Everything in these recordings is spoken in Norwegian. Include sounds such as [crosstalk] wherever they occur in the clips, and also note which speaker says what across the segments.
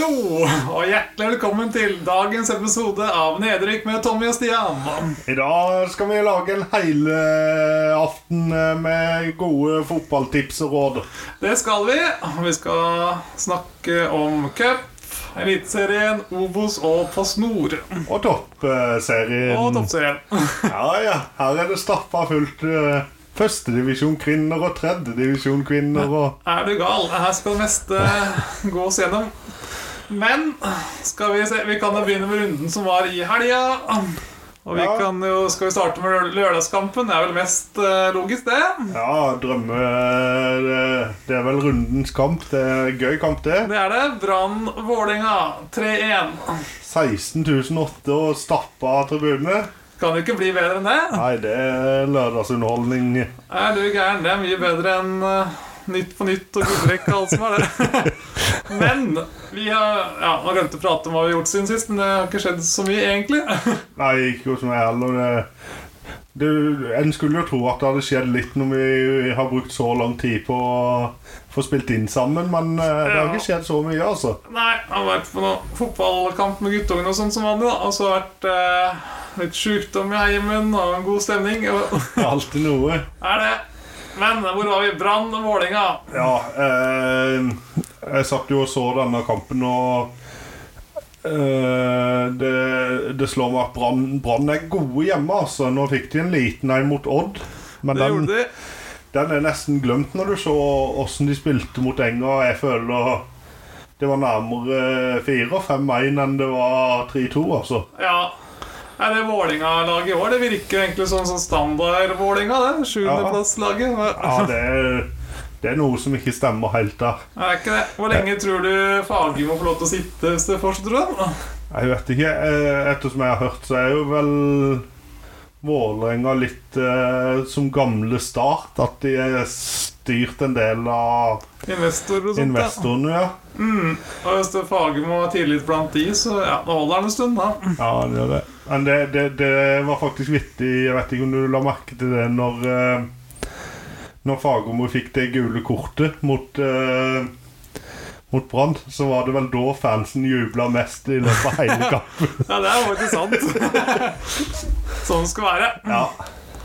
Speaker 1: og hjertelig velkommen til dagens episode av Nedrykk med Tommy og Stian.
Speaker 2: I dag skal vi lage en helaften med gode fotballtips og råd.
Speaker 1: Det skal vi. Vi skal snakke om cup, Eliteserien, Obos og Post Nord.
Speaker 2: Og toppserien.
Speaker 1: Og Toppserien.
Speaker 2: Ja, ja. Her er det stappa fullt. eh, Førstedivisjon kvinner og tredjedivisjon kvinner og
Speaker 1: Er du gal? Her skal det meste gås gjennom. Men skal vi, se, vi kan jo begynne med runden som var i helga. Og vi
Speaker 2: Ja.
Speaker 1: kan jo, Skal vi starte med lø- lørdagskampen? Det er vel mest eh, logisk, det.
Speaker 2: Ja, drømme eh, Det er vel rundens kamp. Det er en gøy kamp, det.
Speaker 1: Det er det. Brann-Vålerenga 3-1.
Speaker 2: 16.008 og stappa tribune.
Speaker 1: Kan jo ikke bli bedre enn det.
Speaker 2: Nei, det er lørdagsunderholdning.
Speaker 1: Er du gæren? Det er mye bedre enn eh, Nytt på Nytt og Gullrekka og alt som er der. Men vi har Ja, nå glemte jeg å prate om hva vi har gjort siden sist, men det har ikke skjedd så mye, egentlig. [laughs]
Speaker 2: Nei, ikke hos meg heller. Det, det, en skulle jo tro at det hadde skjedd litt når vi har brukt så lang tid på å få spilt inn sammen, men eh, det
Speaker 1: Ja.
Speaker 2: har ikke skjedd så mye, altså.
Speaker 1: Nei, jeg har vært på noen fotballkamp med guttungene og sånn som vanlig, da. Og så har det vært eh, litt sjukdom i heimen og en god stemning. Og, [laughs]
Speaker 2: Alltid noe.
Speaker 1: er det. Men hvor var vi? Brann og Vålerenga.
Speaker 2: Ja, eh, jeg satt jo og så denne kampen, og eh, det, det slår meg at Brann- Brann er gode hjemme, altså. Nå fikk de en liten en mot Odd. Men
Speaker 1: Det
Speaker 2: den,
Speaker 1: gjorde de.
Speaker 2: Den er nesten glemt når du så åssen de spilte mot Enga. Jeg føler det var nærmere 4-5-1 enn det var 3-2, altså.
Speaker 1: Ja. Nei, det Vålerenga-laget i år det virker egentlig som sånn standard-Vålerenga. det, Sjuendeplasslaget.
Speaker 2: Ja, det er, det er noe som ikke stemmer helt der.
Speaker 1: Er ikke det. Hvor lenge tror du Fagermo får lov til å sitte hvis det fortsetter sånn?
Speaker 2: Jeg vet ikke. eh, Ettersom jeg har hørt, så er jo vel Vålerenga litt eh, som gamle Start. At de er styrt en del av
Speaker 1: Investorer og sånt.
Speaker 2: investorene, ja.
Speaker 1: Ja. Og hvis det Fagermo er tidlig blant de, så ja, da holder han en stund, da.
Speaker 2: Ja, det gjør det. Men det, det, det var faktisk vittig. Jeg vet ikke om du la merke til det når eh, Når Fagermo fikk det gule kortet mot eh, mot Brann, så var det vel da fansen jubla mest i løpet av
Speaker 1: [laughs]
Speaker 2: hele kampen.
Speaker 1: Ja, det er jo ikke sant. [laughs] sånn skal det være.
Speaker 2: Ja.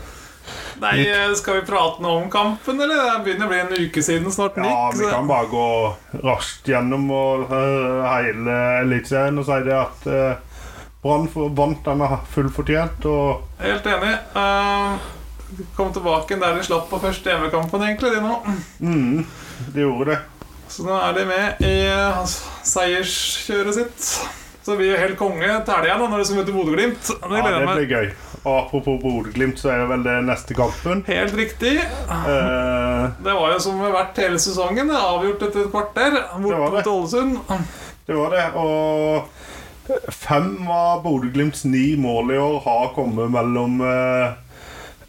Speaker 1: Nei, eh, skal vi prate noe om kampen, eller? Det begynner å bli en uke siden snart,
Speaker 2: ja,
Speaker 1: Nick.
Speaker 2: vi
Speaker 1: så-
Speaker 2: kan bare gå raskt gjennom og, eh, hele Eliteserien og si det at eh, Brann for- vant denne fullt fortjent, og
Speaker 1: Helt enig. Eh, kom tilbake der de slapp på første hjemmekampen, egentlig, de nå.
Speaker 2: mm, de gjorde det.
Speaker 1: Så nå er de med i eh, seierskjøret sitt. Så det blir jo helt konge til helga da, når de skal møte Bodø-Glimt. Det gleder jeg
Speaker 2: Ja,
Speaker 1: meg.
Speaker 2: det blir gøy. Og apropos Bodø-Glimt, så er vel det neste kampen.
Speaker 1: Helt riktig.
Speaker 2: Eh,
Speaker 1: Det var jo som det har vært hele sesongen. det er Avgjort etter et kvarter.
Speaker 2: Det var
Speaker 1: Borte mot
Speaker 2: det.
Speaker 1: Ålesund.
Speaker 2: Det var det. Og fem av Bodø-Glimts ni mål i år har kommet mellom eh,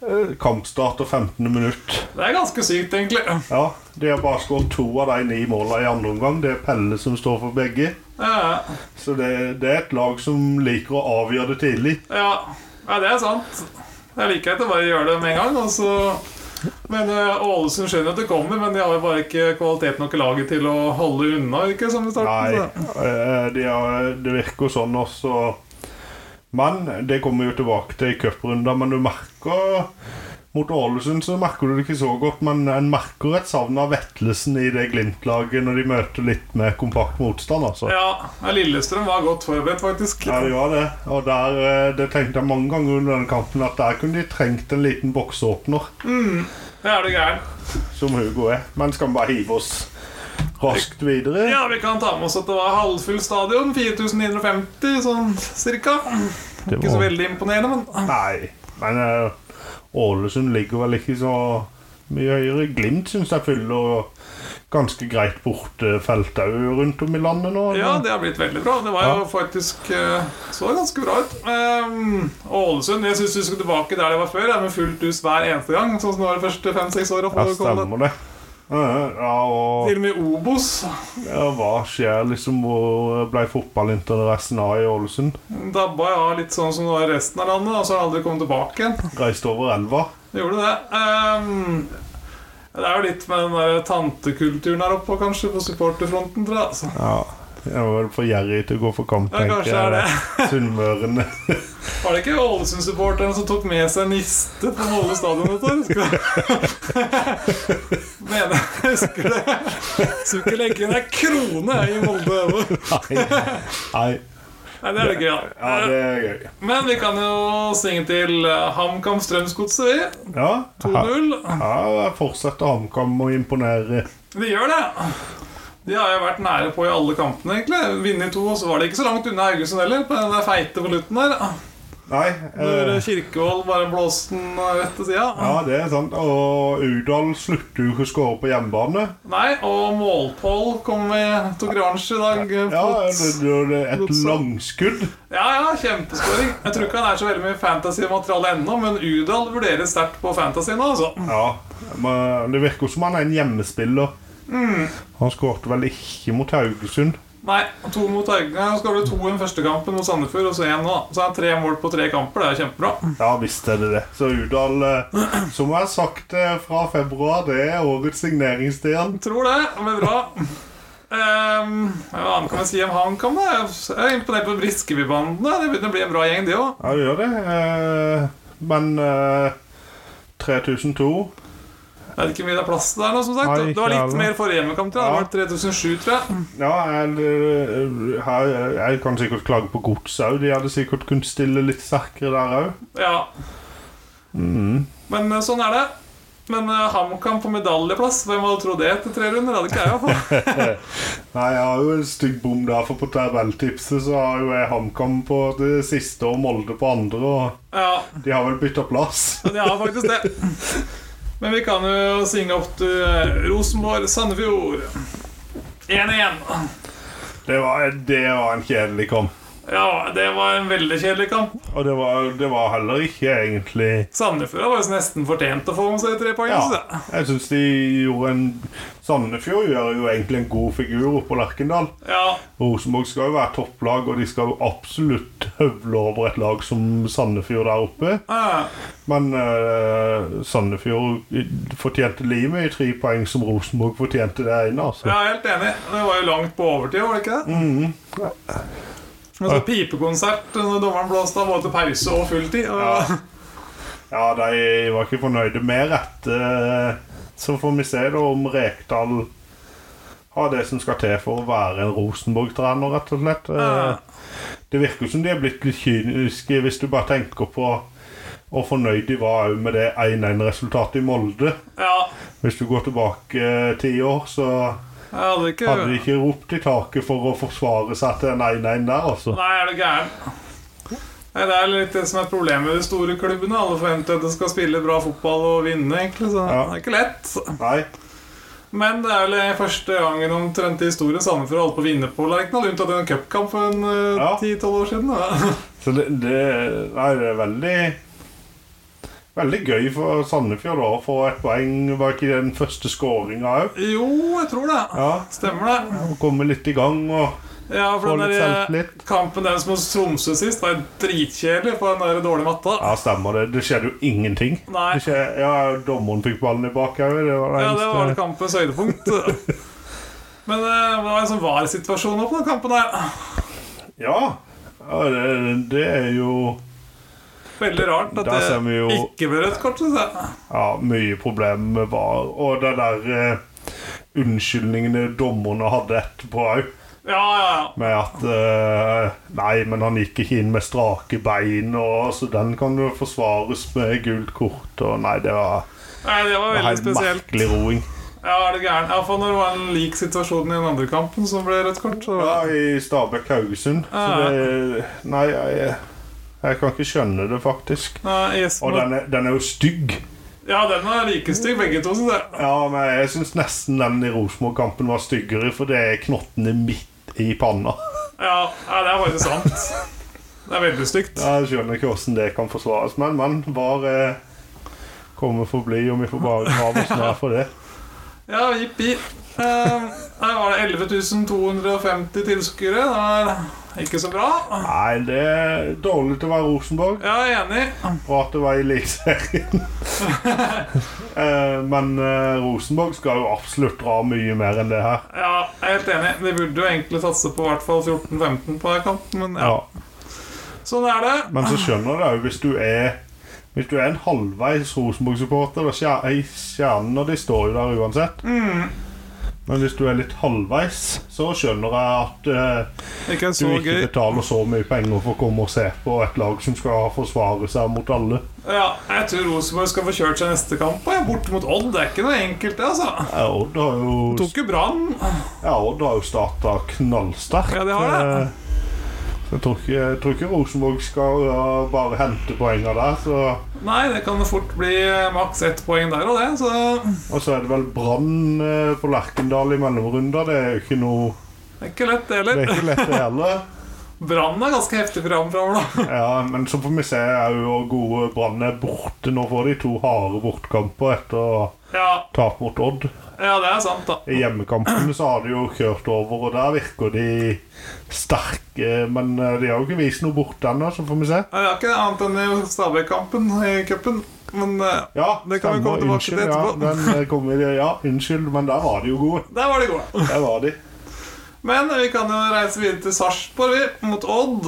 Speaker 2: eh, kampstart og 15. minutt.
Speaker 1: Det er ganske sykt, egentlig.
Speaker 2: Ja, De har bare skåret to av de ni målene i andre omgang. Det er Pelle som står for begge.
Speaker 1: Ja,
Speaker 2: Så det, det er et lag som liker å avgjøre det tidlig.
Speaker 1: ja. ja det er sant. Jeg liker at jeg bare gjør det med en gang. Og så men eh, Ålesund skjønner at det kommer, men de har jo bare ikke kvalitet nok i laget til å holde unna. ikke som i
Speaker 2: Nei,
Speaker 1: starten.
Speaker 2: eh, de har, det virker sånn også. Men det kommer jo tilbake til i cuprunder. Men du merker Mot Ålesund så merker du det ikke så godt, men en merker et savn av Vetlesen i det Glimt-laget når de møter litt mer kompakt motstand,
Speaker 1: Så.
Speaker 2: altså. Ja,
Speaker 1: Ja, ja, Lillestrøm var godt forberedt, faktisk.
Speaker 2: det var det. Og der, eh, det tenkte jeg mange ganger under den kampen at der kunne de trengt en liten boksåpner,
Speaker 1: Det er du gæren.
Speaker 2: som Hugo er. Men skal vi bare hive oss raskt videre?
Speaker 1: Ja, vi kan ta med oss at det var halvfull stadion. 4950, sånn cirka.
Speaker 2: Det
Speaker 1: Ikke så
Speaker 2: var-
Speaker 1: veldig imponerende, men
Speaker 2: Nei, men eh, Ålesund ligger vel ikke så mye høyere. Glimt syns jeg fyller ganske greit bortefelt òg rundt om i landet nå.
Speaker 1: ja, det har blitt veldig bra. Det var jo faktisk eh, så ganske bra ut. Ehm, Ålesund Jeg syns vi skulle tilbake der det var før, ja, med fullt hus hver eneste gang. Sånn som det var de første fem-seks åra.
Speaker 2: ja, stemmer det. Eh, Ja, og
Speaker 1: Til og med Obos.
Speaker 2: ja, hva skjer liksom Hvor ble fotballinteressen av i Ålesund?
Speaker 1: Dabba ja litt sånn som det var i resten av landet, og så har han aldri kommet tilbake igjen.
Speaker 2: Reiste over elva?
Speaker 1: Det gjorde det. Ehm, det er jo litt med den der tantekulturen her oppe, kanskje, på supporterfronten, tror jeg. Altså.
Speaker 2: Ja. Jeg var for gjerrig til å gå for kamp,
Speaker 1: Ja, kanskje
Speaker 2: tenker
Speaker 1: er det.
Speaker 2: [laughs] jeg. Sunnmørene.
Speaker 1: Var det ikke Ålesund-supporteren som tok med seg niste på Molde stadion? vet du? Husker du? Mener jeg husker det. Skulle ikke legge inn ei krone i Molde.
Speaker 2: Nei. Nei.
Speaker 1: Nei, det er litt gøy, da.
Speaker 2: Ja, det er gøy.
Speaker 1: Men vi kan jo svinge til eh, HamKam Strømsgodset, vi.
Speaker 2: Ja,
Speaker 1: 2-0.
Speaker 2: ja fortsetter HamKam å imponere.
Speaker 1: De gjør det. De har jo vært nære på i alle kampene, egentlig. Vinne i to, og så var det ikke så langt unna Haugesund heller. På den der feite på slutten der.
Speaker 2: Nei.
Speaker 1: Når
Speaker 2: Eh,
Speaker 1: Kirkevold bare blåste den rett til sida.
Speaker 2: ja, det er sant. Og Udal slutter jo ikke å skåre på hjemmebane.
Speaker 1: Nei, og målpål kom i, tok revansj i dag. eh,
Speaker 2: Ja, det,
Speaker 1: mot-
Speaker 2: det, det er et
Speaker 1: Mot-
Speaker 2: langskudd.
Speaker 1: ja, ja, kjempeskåring. Jeg tror ikke han er så veldig mye fantasy-materiale ennå, men Udal vurderer sterkt på fantasy nå, altså.
Speaker 2: Ja, men det virker som han er en hjemmespiller. Han skårte vel ikke mot Haugesund.
Speaker 1: Nei, to mot Haugen. Han skåret to i den første kampen mot Sandefjord, og så én nå. Så er han tre mål på tre kamper. Det er jo kjempebra.
Speaker 2: Ja, visst er det det. Så Udal, eh, som jeg har sagt eh, fra februar, det er årets signeringsstjerne.
Speaker 1: Tror det. Det blir bra. Ehm, hva annet kan jeg si om HamKam? da? Jeg er imponert på Briskeby-bandene. Det begynner å bli en bra gjeng, de òg.
Speaker 2: Ja, det gjør det. Eh, Men eh, 3002
Speaker 1: Jeg vet ikke hvor mye det er plass til der nå, som sagt.
Speaker 2: Nei,
Speaker 1: det var
Speaker 2: ikke
Speaker 1: litt
Speaker 2: heller.
Speaker 1: mer forrige hjemmekamp, tror jeg.
Speaker 2: Ja.
Speaker 1: Det var 3007, tror jeg.
Speaker 2: Ja, jeg, eh, her, jeg kan sikkert klage på Godset òg. De hadde sikkert kunnet stille litt sterkere der òg.
Speaker 1: Ja.
Speaker 2: Mm.
Speaker 1: Men eh, sånn er det. Men eh, HamKam på medaljeplass, hvem hadde trodd det etter tre runder? Hadde ikke jeg, i hvert
Speaker 2: [laughs]
Speaker 1: fall.
Speaker 2: Nei, jeg har jo en stygg bom der, for på tabelltipset så har jo jeg HamKam på det siste og Molde på andre. og...
Speaker 1: Ja,
Speaker 2: De har vel bytta plass. [laughs]
Speaker 1: men jeg har faktisk det. Men vi kan jo synge opp til eh, Rosenborg, Sandefjord. 1-1.
Speaker 2: Det var, det var en kjedelig kamp.
Speaker 1: Ja, det var en veldig kjedelig kamp.
Speaker 2: Og det var, det var heller ikke egentlig
Speaker 1: Sandefjord var jo nesten fortjent å få med seg tre poeng.
Speaker 2: Ja,
Speaker 1: synes jeg.
Speaker 2: jeg syns de gjorde en Sandefjord gjør jo egentlig en god figur oppe på Lerkendal.
Speaker 1: Ja,
Speaker 2: Rosenborg skal jo være topplag, og de skal jo absolutt høvle over et lag som Sandefjord der oppe.
Speaker 1: eh,
Speaker 2: Men eh, Sandefjord fortjente livet i tre poeng som Rosenborg fortjente det ene,
Speaker 1: jeg
Speaker 2: altså.
Speaker 1: er helt enig. Det var jo langt på overtid, var det ikke det?
Speaker 2: Mm.
Speaker 1: Og så pipekonsert når dommeren blåste av både til pause og fulltid. Og...
Speaker 2: Ja. Ja, de var ikke fornøyde med rette. eh, Så får vi se da om Rekdal har det som skal til for å være en Rosenborg-trener, rett og slett. Eh,
Speaker 1: Ja.
Speaker 2: Det virker som de er blitt litt kyniske, hvis du bare tenker på hvor fornøyd de var òg med det 1-1-resultatet i Molde.
Speaker 1: Ja,
Speaker 2: Hvis du går tilbake eh, ti år, så
Speaker 1: jeg hadde ikke
Speaker 2: hadde de ikke ropt i taket for å forsvare seg til en 1-1 der, altså.
Speaker 1: Nei, er du gæren? Nei, Det er litt det som er problemet med de store klubbene. Alle forventer at de skal spille bra fotball og vinne, egentlig, så
Speaker 2: Ja.
Speaker 1: det er ikke lett.
Speaker 2: Nei.
Speaker 1: Men det er vel første gangen omtrent i historien Sandefjord holdt på å vinne på Lerkendal, unntatt en cupkamp for en eh,
Speaker 2: Ja.
Speaker 1: 10-12 år siden.
Speaker 2: [laughs]
Speaker 1: Da.
Speaker 2: Så det, det, nei, det er veldig Veldig gøy for Sandefjord da, å få et poeng. Var ikke det den første skåringa òg?
Speaker 1: Jo, jeg tror det.
Speaker 2: Ja.
Speaker 1: Stemmer det.
Speaker 2: å Komme litt i gang og
Speaker 1: Ja, for
Speaker 2: Få
Speaker 1: den der
Speaker 2: litt
Speaker 1: eh,
Speaker 2: selvtillit.
Speaker 1: kampen deres mot Tromsø sist var dritkjedelig på den der dårlige matta.
Speaker 2: Ja, stemmer det. Det skjedde jo ingenting.
Speaker 1: Nei.
Speaker 2: Det skjedde, ja, Dommeren fikk ballen i bakhauget. Det var det
Speaker 1: Ja, det var vel
Speaker 2: eneste.
Speaker 1: kampens
Speaker 2: [laughs]
Speaker 1: høydepunkt. Men eh, det var en sånn var-situasjon nå på den kampen der.
Speaker 2: Ja, ja det, det er jo
Speaker 1: Veldig rart at
Speaker 2: Da ser
Speaker 1: det
Speaker 2: vi jo-
Speaker 1: ikke ble rødt kort. Synes jeg.
Speaker 2: ja, mye problemer med VAR. Og det der eh, unnskyldningene dommerne hadde etterpå òg.
Speaker 1: Ja, ja, ja.
Speaker 2: med at eh, Nei, men han gikk ikke inn med strake bein, og så den kan jo forsvares med gult kort. Og nei, det var,
Speaker 1: Nei, det var
Speaker 2: det var
Speaker 1: veldig
Speaker 2: helt
Speaker 1: spesielt.
Speaker 2: merkelig roing.
Speaker 1: Ja, er det gæren? Ja, for når det var en lik situasjon i den andre kampen som ble rødt kort, så
Speaker 2: Ja, i Stabæk Haugesund. Så
Speaker 1: Ah, Ja.
Speaker 2: det Nei, jeg, jeg kan ikke skjønne det, faktisk.
Speaker 1: Nei, Jesper-
Speaker 2: Og den er, den er jo stygg.
Speaker 1: Ja, den er like stygg, begge to. Synes jeg.
Speaker 2: Ja, men jeg syns nesten den i Rosenborg-kampen var styggere, for det er knottene midt i panna.
Speaker 1: Ja, ja, det er bare sant. Det er veldig stygt.
Speaker 2: Jeg skjønner ikke hvordan det kan forsvares, men men, var eh, kommer for å bli, og vi får bare grave oss ned for det.
Speaker 1: Ja, Ehm, jippi. Eh, Her var det 11.250 tilskuere. Det var Ikke så bra.
Speaker 2: Nei, det er dårlig til å være Rosenborg.
Speaker 1: Ja, jeg er enig.
Speaker 2: Bra til å være i [laughs] Eliteserien. Eh, Men eh, Rosenborg skal jo absolutt dra mye mer enn det her.
Speaker 1: Ja, jeg er helt enig. De burde jo egentlig satse på i hvert fall 14-15 på den kanten, men ja.
Speaker 2: Ja.
Speaker 1: Sånn er det.
Speaker 2: Men så skjønner jeg det òg, hvis du er hvis du er en halvveis Rosenborg-supporter og skjer- i Kjernen og de står jo der uansett. Men hvis du er litt halvveis, så skjønner jeg at eh,
Speaker 1: Ikke
Speaker 2: du
Speaker 1: så
Speaker 2: ikke
Speaker 1: gøy.
Speaker 2: betaler så mye penger for å komme og se på et lag som skal forsvare seg mot alle.
Speaker 1: Ja, jeg tror Rosenborg skal få kjørt seg neste kamp. og jeg er Borte mot Odd. Det er ikke noe enkelt, det, altså.
Speaker 2: Ja, Odd har jo,
Speaker 1: Tok jo Brann.
Speaker 2: ja, Odd har jo starta knallsterkt.
Speaker 1: Ja, det har det.
Speaker 2: eh, Så jeg tror ikke, jeg tror ikke Rosenborg skal eh, bare hente poengene der. Så
Speaker 1: Nei, det kan jo fort bli eh, maks ett poeng der og det, så det
Speaker 2: Og så er det vel Brann eh, på Lerkendal i mellomrunder. Det er jo ikke noe
Speaker 1: er ikke lett, det
Speaker 2: Det er
Speaker 1: heller.
Speaker 2: ikke lett, det heller.
Speaker 1: [laughs] Brann er ganske heftig program framover [laughs] nå.
Speaker 2: Ja, men så får vi se er jo hvor gode Brann er borte. Nå får de to harde bortkamper etter
Speaker 1: Ja,
Speaker 2: tap mot Odd.
Speaker 1: ja, det er sant, da.
Speaker 2: I hjemmekampene så har de jo kjørt over, og der virker de sterke. Men eh, de har jo ikke vist noe borte ennå, så får vi se.
Speaker 1: Nei, Det er ikke det, annet enn i Stabæk-kampen i cupen. Men eh,
Speaker 2: Ja,
Speaker 1: Det kan vi komme
Speaker 2: stemmer.
Speaker 1: tilbake til
Speaker 2: Unnskyld,
Speaker 1: etterpå.
Speaker 2: Ja, den, eh, kommer i- ja, unnskyld, men der var de jo gode.
Speaker 1: der var de gode.
Speaker 2: Der var de.
Speaker 1: Men vi kan jo reise videre til Sarpsborg, vi, mot Odd.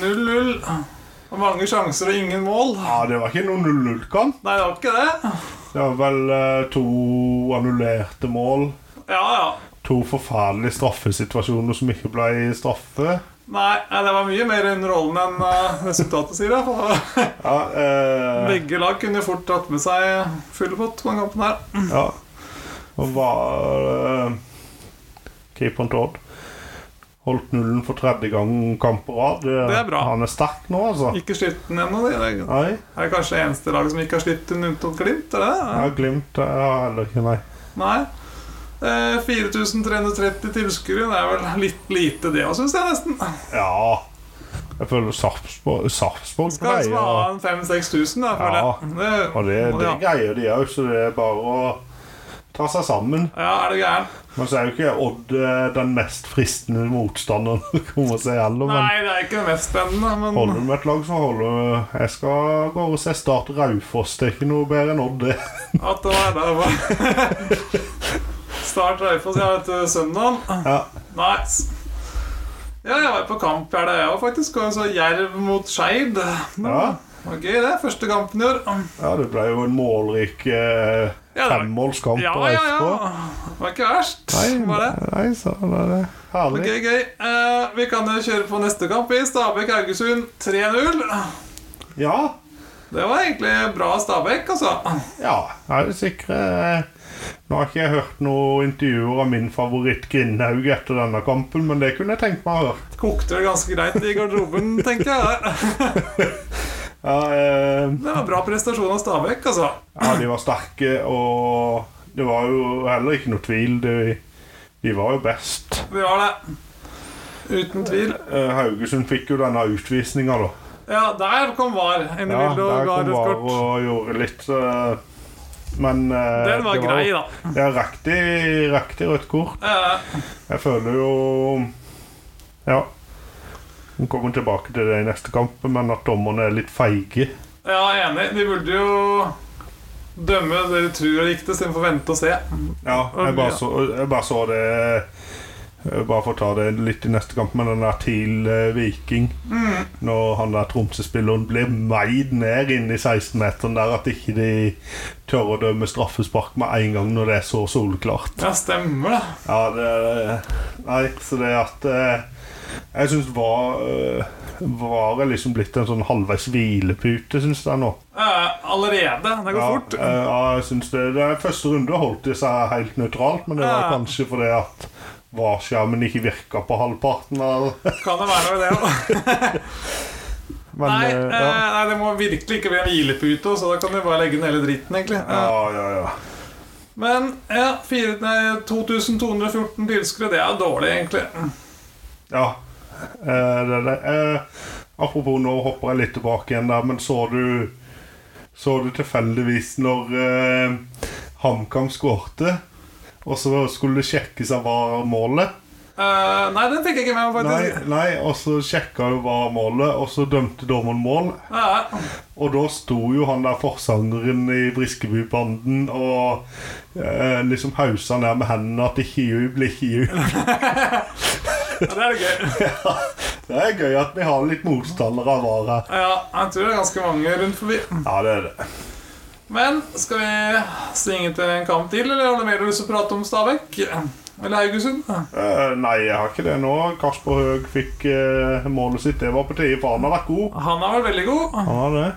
Speaker 1: 0-0. Og Mange sjanser og ingen mål. Nei,
Speaker 2: Ja, det var ikke noen 0-0-kamp.
Speaker 1: det var ikke det.
Speaker 2: Det var vel eh, to annullerte mål.
Speaker 1: Ja, ja.
Speaker 2: To forferdelige straffesituasjoner som ikke ble straffe.
Speaker 1: Nei, nei, det var mye mer underholdende enn eh, resultatet sier. i hvert fall.
Speaker 2: Ja, eh,
Speaker 1: Begge lag kunne fort tatt med seg full pott på den kampen her.
Speaker 2: ja. Og var eh, keeperen til Odd. Holdt nullen for tredje gang kamp på rad.
Speaker 1: Det er bra.
Speaker 2: Han er sterk nå, altså.
Speaker 1: Ikke slitt den ennå. Det er det
Speaker 2: Nei.
Speaker 1: er kanskje det eneste laget som ikke har slitt den unntatt Glimt? Er det? det?
Speaker 2: Ja, Glimt eh, ja, heller ikke, nei.
Speaker 1: Nei. Eh, 4330 tilskuere, det er vel litt lite det òg, syns jeg nesten.
Speaker 2: Ja. Jeg føler Sarpsborg Sarpsborg
Speaker 1: Skal liksom
Speaker 2: pleier
Speaker 1: ha en 5000-6000, da, føler
Speaker 2: Ja,
Speaker 1: jeg. Det,
Speaker 2: Og det,
Speaker 1: må de
Speaker 2: det
Speaker 1: ha.
Speaker 2: greier de òg, så det er bare å ta seg sammen.
Speaker 1: Ja, er det gæren?
Speaker 2: Men så er jo ikke Odd eh, den mest fristende motstanderen [laughs] å komme seg gjennom. Men
Speaker 1: Nei, det er ikke det mest spennende, men
Speaker 2: holder du med et lag, så holder du Jeg skal gå og se Start Raufoss. Det er ikke noe bedre enn Odd, det. [laughs]
Speaker 1: at det var det var [laughs] Start Raufoss, ja, vet du, søndagen.
Speaker 2: Ja.
Speaker 1: Nice. Ja, jeg var på kamp her, det jeg òg, faktisk. Og så Jerv mot Skeid. Det
Speaker 2: Ja.
Speaker 1: var gøy, det. Første kampen i år.
Speaker 2: ja, det ble jo en målrik eh,
Speaker 1: Ja, det var-
Speaker 2: femmålskamp
Speaker 1: Ja,
Speaker 2: på
Speaker 1: ja,
Speaker 2: FK.
Speaker 1: ja. Det var ikke verst.
Speaker 2: Nei,
Speaker 1: var det?
Speaker 2: nei, så var det herlig.
Speaker 1: Gøy, gøy. Eh, vi kan jo kjøre på neste kamp i Stabæk-Haugesund 3-0.
Speaker 2: Ja.
Speaker 1: Det var egentlig bra Stabæk, altså.
Speaker 2: ja. Jeg er jo sikre eh, Nå har ikke jeg hørt noen intervjuer av min favoritt Grindhaug etter denne kampen, men det kunne jeg tenkt meg å høre.
Speaker 1: Kokte det ganske greit i garderoben, tenker jeg.
Speaker 2: Ja, eh,
Speaker 1: Det var bra prestasjon av Stabæk, altså.
Speaker 2: Ja, de var sterke, og det var jo heller ikke noe tvil. De, de var jo best.
Speaker 1: Vi har det. Uten tvil.
Speaker 2: Eh, Haugesund fikk jo denne utvisninga, da.
Speaker 1: Ja, der kom VAR inn i
Speaker 2: Ja,
Speaker 1: bildet og
Speaker 2: der
Speaker 1: ga
Speaker 2: kom
Speaker 1: rødt
Speaker 2: VAR
Speaker 1: kort.
Speaker 2: og gjorde litt eh, Men eh,
Speaker 1: Den var
Speaker 2: det
Speaker 1: grei,
Speaker 2: jo-
Speaker 1: da.
Speaker 2: Ja, riktig, riktig rødt kort.
Speaker 1: Eh,
Speaker 2: Jeg føler jo Ja. Vi kommer tilbake til det i neste kamp, men at dommerne er litt feige.
Speaker 1: ja, enig. De burde jo dømme det de tror er riktig, istedenfor å vente og se.
Speaker 2: Ja, jeg
Speaker 1: Ja.
Speaker 2: bare så, jeg bare så det jeg Bare for å ta det litt i neste kamp, men den der TIL eh, Viking Når han der Tromsø-spilleren ble meid ned inne i 16-meteren der, at ikke de tør å dømme straffespark med en gang når det er så soleklart.
Speaker 1: Ja, stemmer det.
Speaker 2: Ja, det Nei, så det at eh, Jeg syns var eh, Var jeg liksom blitt en sånn halvveis hvilepute, syns jeg nå.
Speaker 1: Eh, allerede. Det går
Speaker 2: Ja,
Speaker 1: fort.
Speaker 2: eh, ja, jeg synes det, det er Første runde holdt de seg helt nøytralt, men det var
Speaker 1: Ja.
Speaker 2: kanskje fordi at varskjermen ikke virka på halvparten av
Speaker 1: Kan det være noe i det òg?
Speaker 2: men,
Speaker 1: Nei,
Speaker 2: eh,
Speaker 1: eh,
Speaker 2: ja.
Speaker 1: nei, det må virkelig ikke bli en hvilepute, så da kan du bare legge ned hele dritten, egentlig. Eh,
Speaker 2: ja, ja, ja.
Speaker 1: Men ja, fire, nei, 2214 tilskuere, det er dårlig, egentlig.
Speaker 2: ja. Eh, det, det. Eh, apropos, nå hopper jeg litt tilbake igjen der, men så du Så du tilfeldigvis når eh, HamKam skårte, og så skulle det sjekkes av hva målet?
Speaker 1: Eh, nei, den fikk jeg ikke med meg,
Speaker 2: Nei,
Speaker 1: faktisk.
Speaker 2: nei, og så sjekka jo hva målet, og så dømte dommeren mål.
Speaker 1: Nei.
Speaker 2: Og da sto jo han der forsangeren i Briskebybanden og eh, liksom hausa ned med hendene at ikke jubl, ikke jubl.
Speaker 1: Ja, det er gøy.
Speaker 2: Det er gøy at vi har litt motstandere av VAR her.
Speaker 1: Ja, jeg tror det er ganske mange rundt forbi.
Speaker 2: Ja, det er det.
Speaker 1: Men skal vi svinge til en kamp til, eller har du mer lyst til å prate om Stabæk? Eller Haugesund?
Speaker 2: Eh, nei, jeg har ikke det nå. Kasper Høeg fikk eh, målet sitt. Det var på tide, for han har vært god.
Speaker 1: Han har vært veldig god.
Speaker 2: Han har det.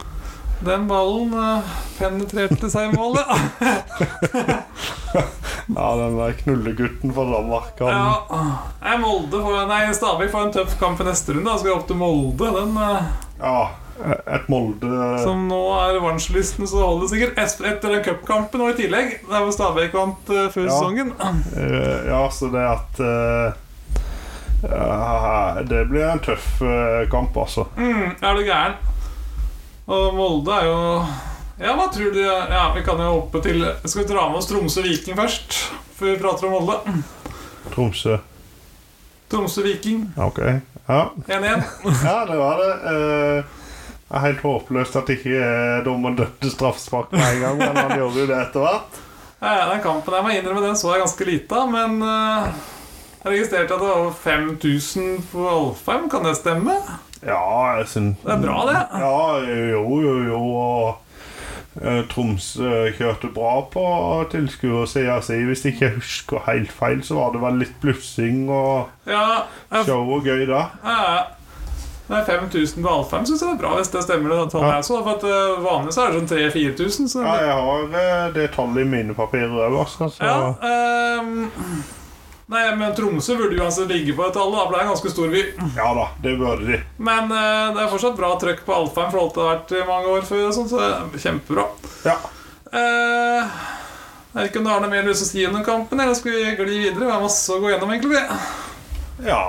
Speaker 1: Den ballen eh, penetrerte seg i målet. [laughs]
Speaker 2: Ja, den der knullegutten fra Danmark, han
Speaker 1: Ja. Nei, Molde får, nei, Stabæk får en tøff kamp i neste runde. Da skal vi opp til Molde. Den, eh,
Speaker 2: Ja, et Molde
Speaker 1: som nå er revansjelisten, så holder det sikkert Et- etter den cupkampen og i tillegg. Der hvor Stabæk vant eh, før
Speaker 2: Ja.
Speaker 1: sesongen. [clears throat]
Speaker 2: Eh, Ja, så det at eh, eh, Det blir en tøff eh, kamp, altså.
Speaker 1: Mm, er du gæren? Og Molde er jo Ja, hva tror du Ja, vi kan jo hoppe til Skal vi dra med oss Tromsø Viking først? Før vi prater om Molde. [clears throat]
Speaker 2: Tromsø.
Speaker 1: Tromsø Viking
Speaker 2: Ja, OK. Ja,
Speaker 1: 1-1.
Speaker 2: ja det var det. Eh, Det er helt håpløst at ikke eh, dommeren dømte straffespark med en gang, men han gjorde jo det etter hvert.
Speaker 1: [clears throat] Ja, ja, den kampen jeg må innrømme, den så jeg ganske lite av, men eh, jeg registrerte at det var over 5000 på Alfheim. Kan det stemme?
Speaker 2: Ja, jeg syns
Speaker 1: Det er bra, det.
Speaker 2: Ja, jo, jo, jo. og eh, Tromsø kjørte bra på tilskuersida si. Hvis ikke jeg husker helt feil, så var det vel litt blussing og
Speaker 1: Ja, jeg, ja,
Speaker 2: show og gøy da.
Speaker 1: ja. Det er 5000 på Alfheim, syns jeg det er bra, hvis det stemmer. det tallet jeg så, for at eh, Vanligvis er det sånn 3000-4000. Så
Speaker 2: Ja, jeg har eh, det tallet i mine papirer òg, altså. Så.
Speaker 1: Ja, ehm, Nei, men Tromsø burde uansett ligge på et tall. Da for det er en ganske stor by.
Speaker 2: ja da, det burde de.
Speaker 1: Men eh, det er fortsatt bra trøkk på Alfheim i forhold til det har vært i mange år før. og sånt, så det er kjempebra.
Speaker 2: Ja.
Speaker 1: Eh, jeg vet ikke om du har noe mer lyst til å si om den kampen, eller skal vi gli videre? Vi har masse å gå gjennom, egentlig. vi.
Speaker 2: ja,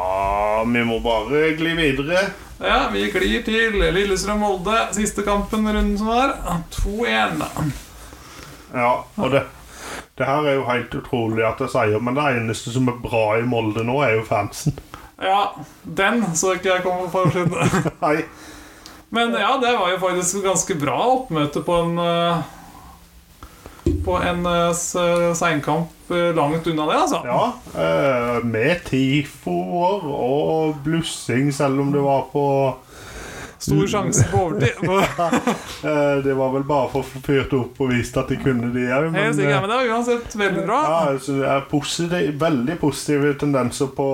Speaker 2: vi må bare gli videre.
Speaker 1: Ja, Vi glir til Lillestrøm-Molde, siste kampen i runden som var. 2-1.
Speaker 2: Ja, og det det her er jo helt utrolig at jeg sier, men det eneste som er bra i Molde nå, er jo fansen. [laughs]
Speaker 1: Ja, den så ikke jeg komme for siden.
Speaker 2: Nei,
Speaker 1: [laughs] Men ja, det var jo faktisk ganske bra oppmøte på en eh, På en eh, s- seinkamp eh, langt unna det, altså.
Speaker 2: ja, eh, med tifoer og blussing, selv om det var på
Speaker 1: Stor sjanse på
Speaker 2: [laughs]
Speaker 1: overtid. På,
Speaker 2: eh, Det var vel bare for å få fyrt opp og vist at de kunne de òg,
Speaker 1: helt sikkert, men det var uansett veldig bra
Speaker 2: eh, ja, jeg synes det er positiv, veldig positive tendenser på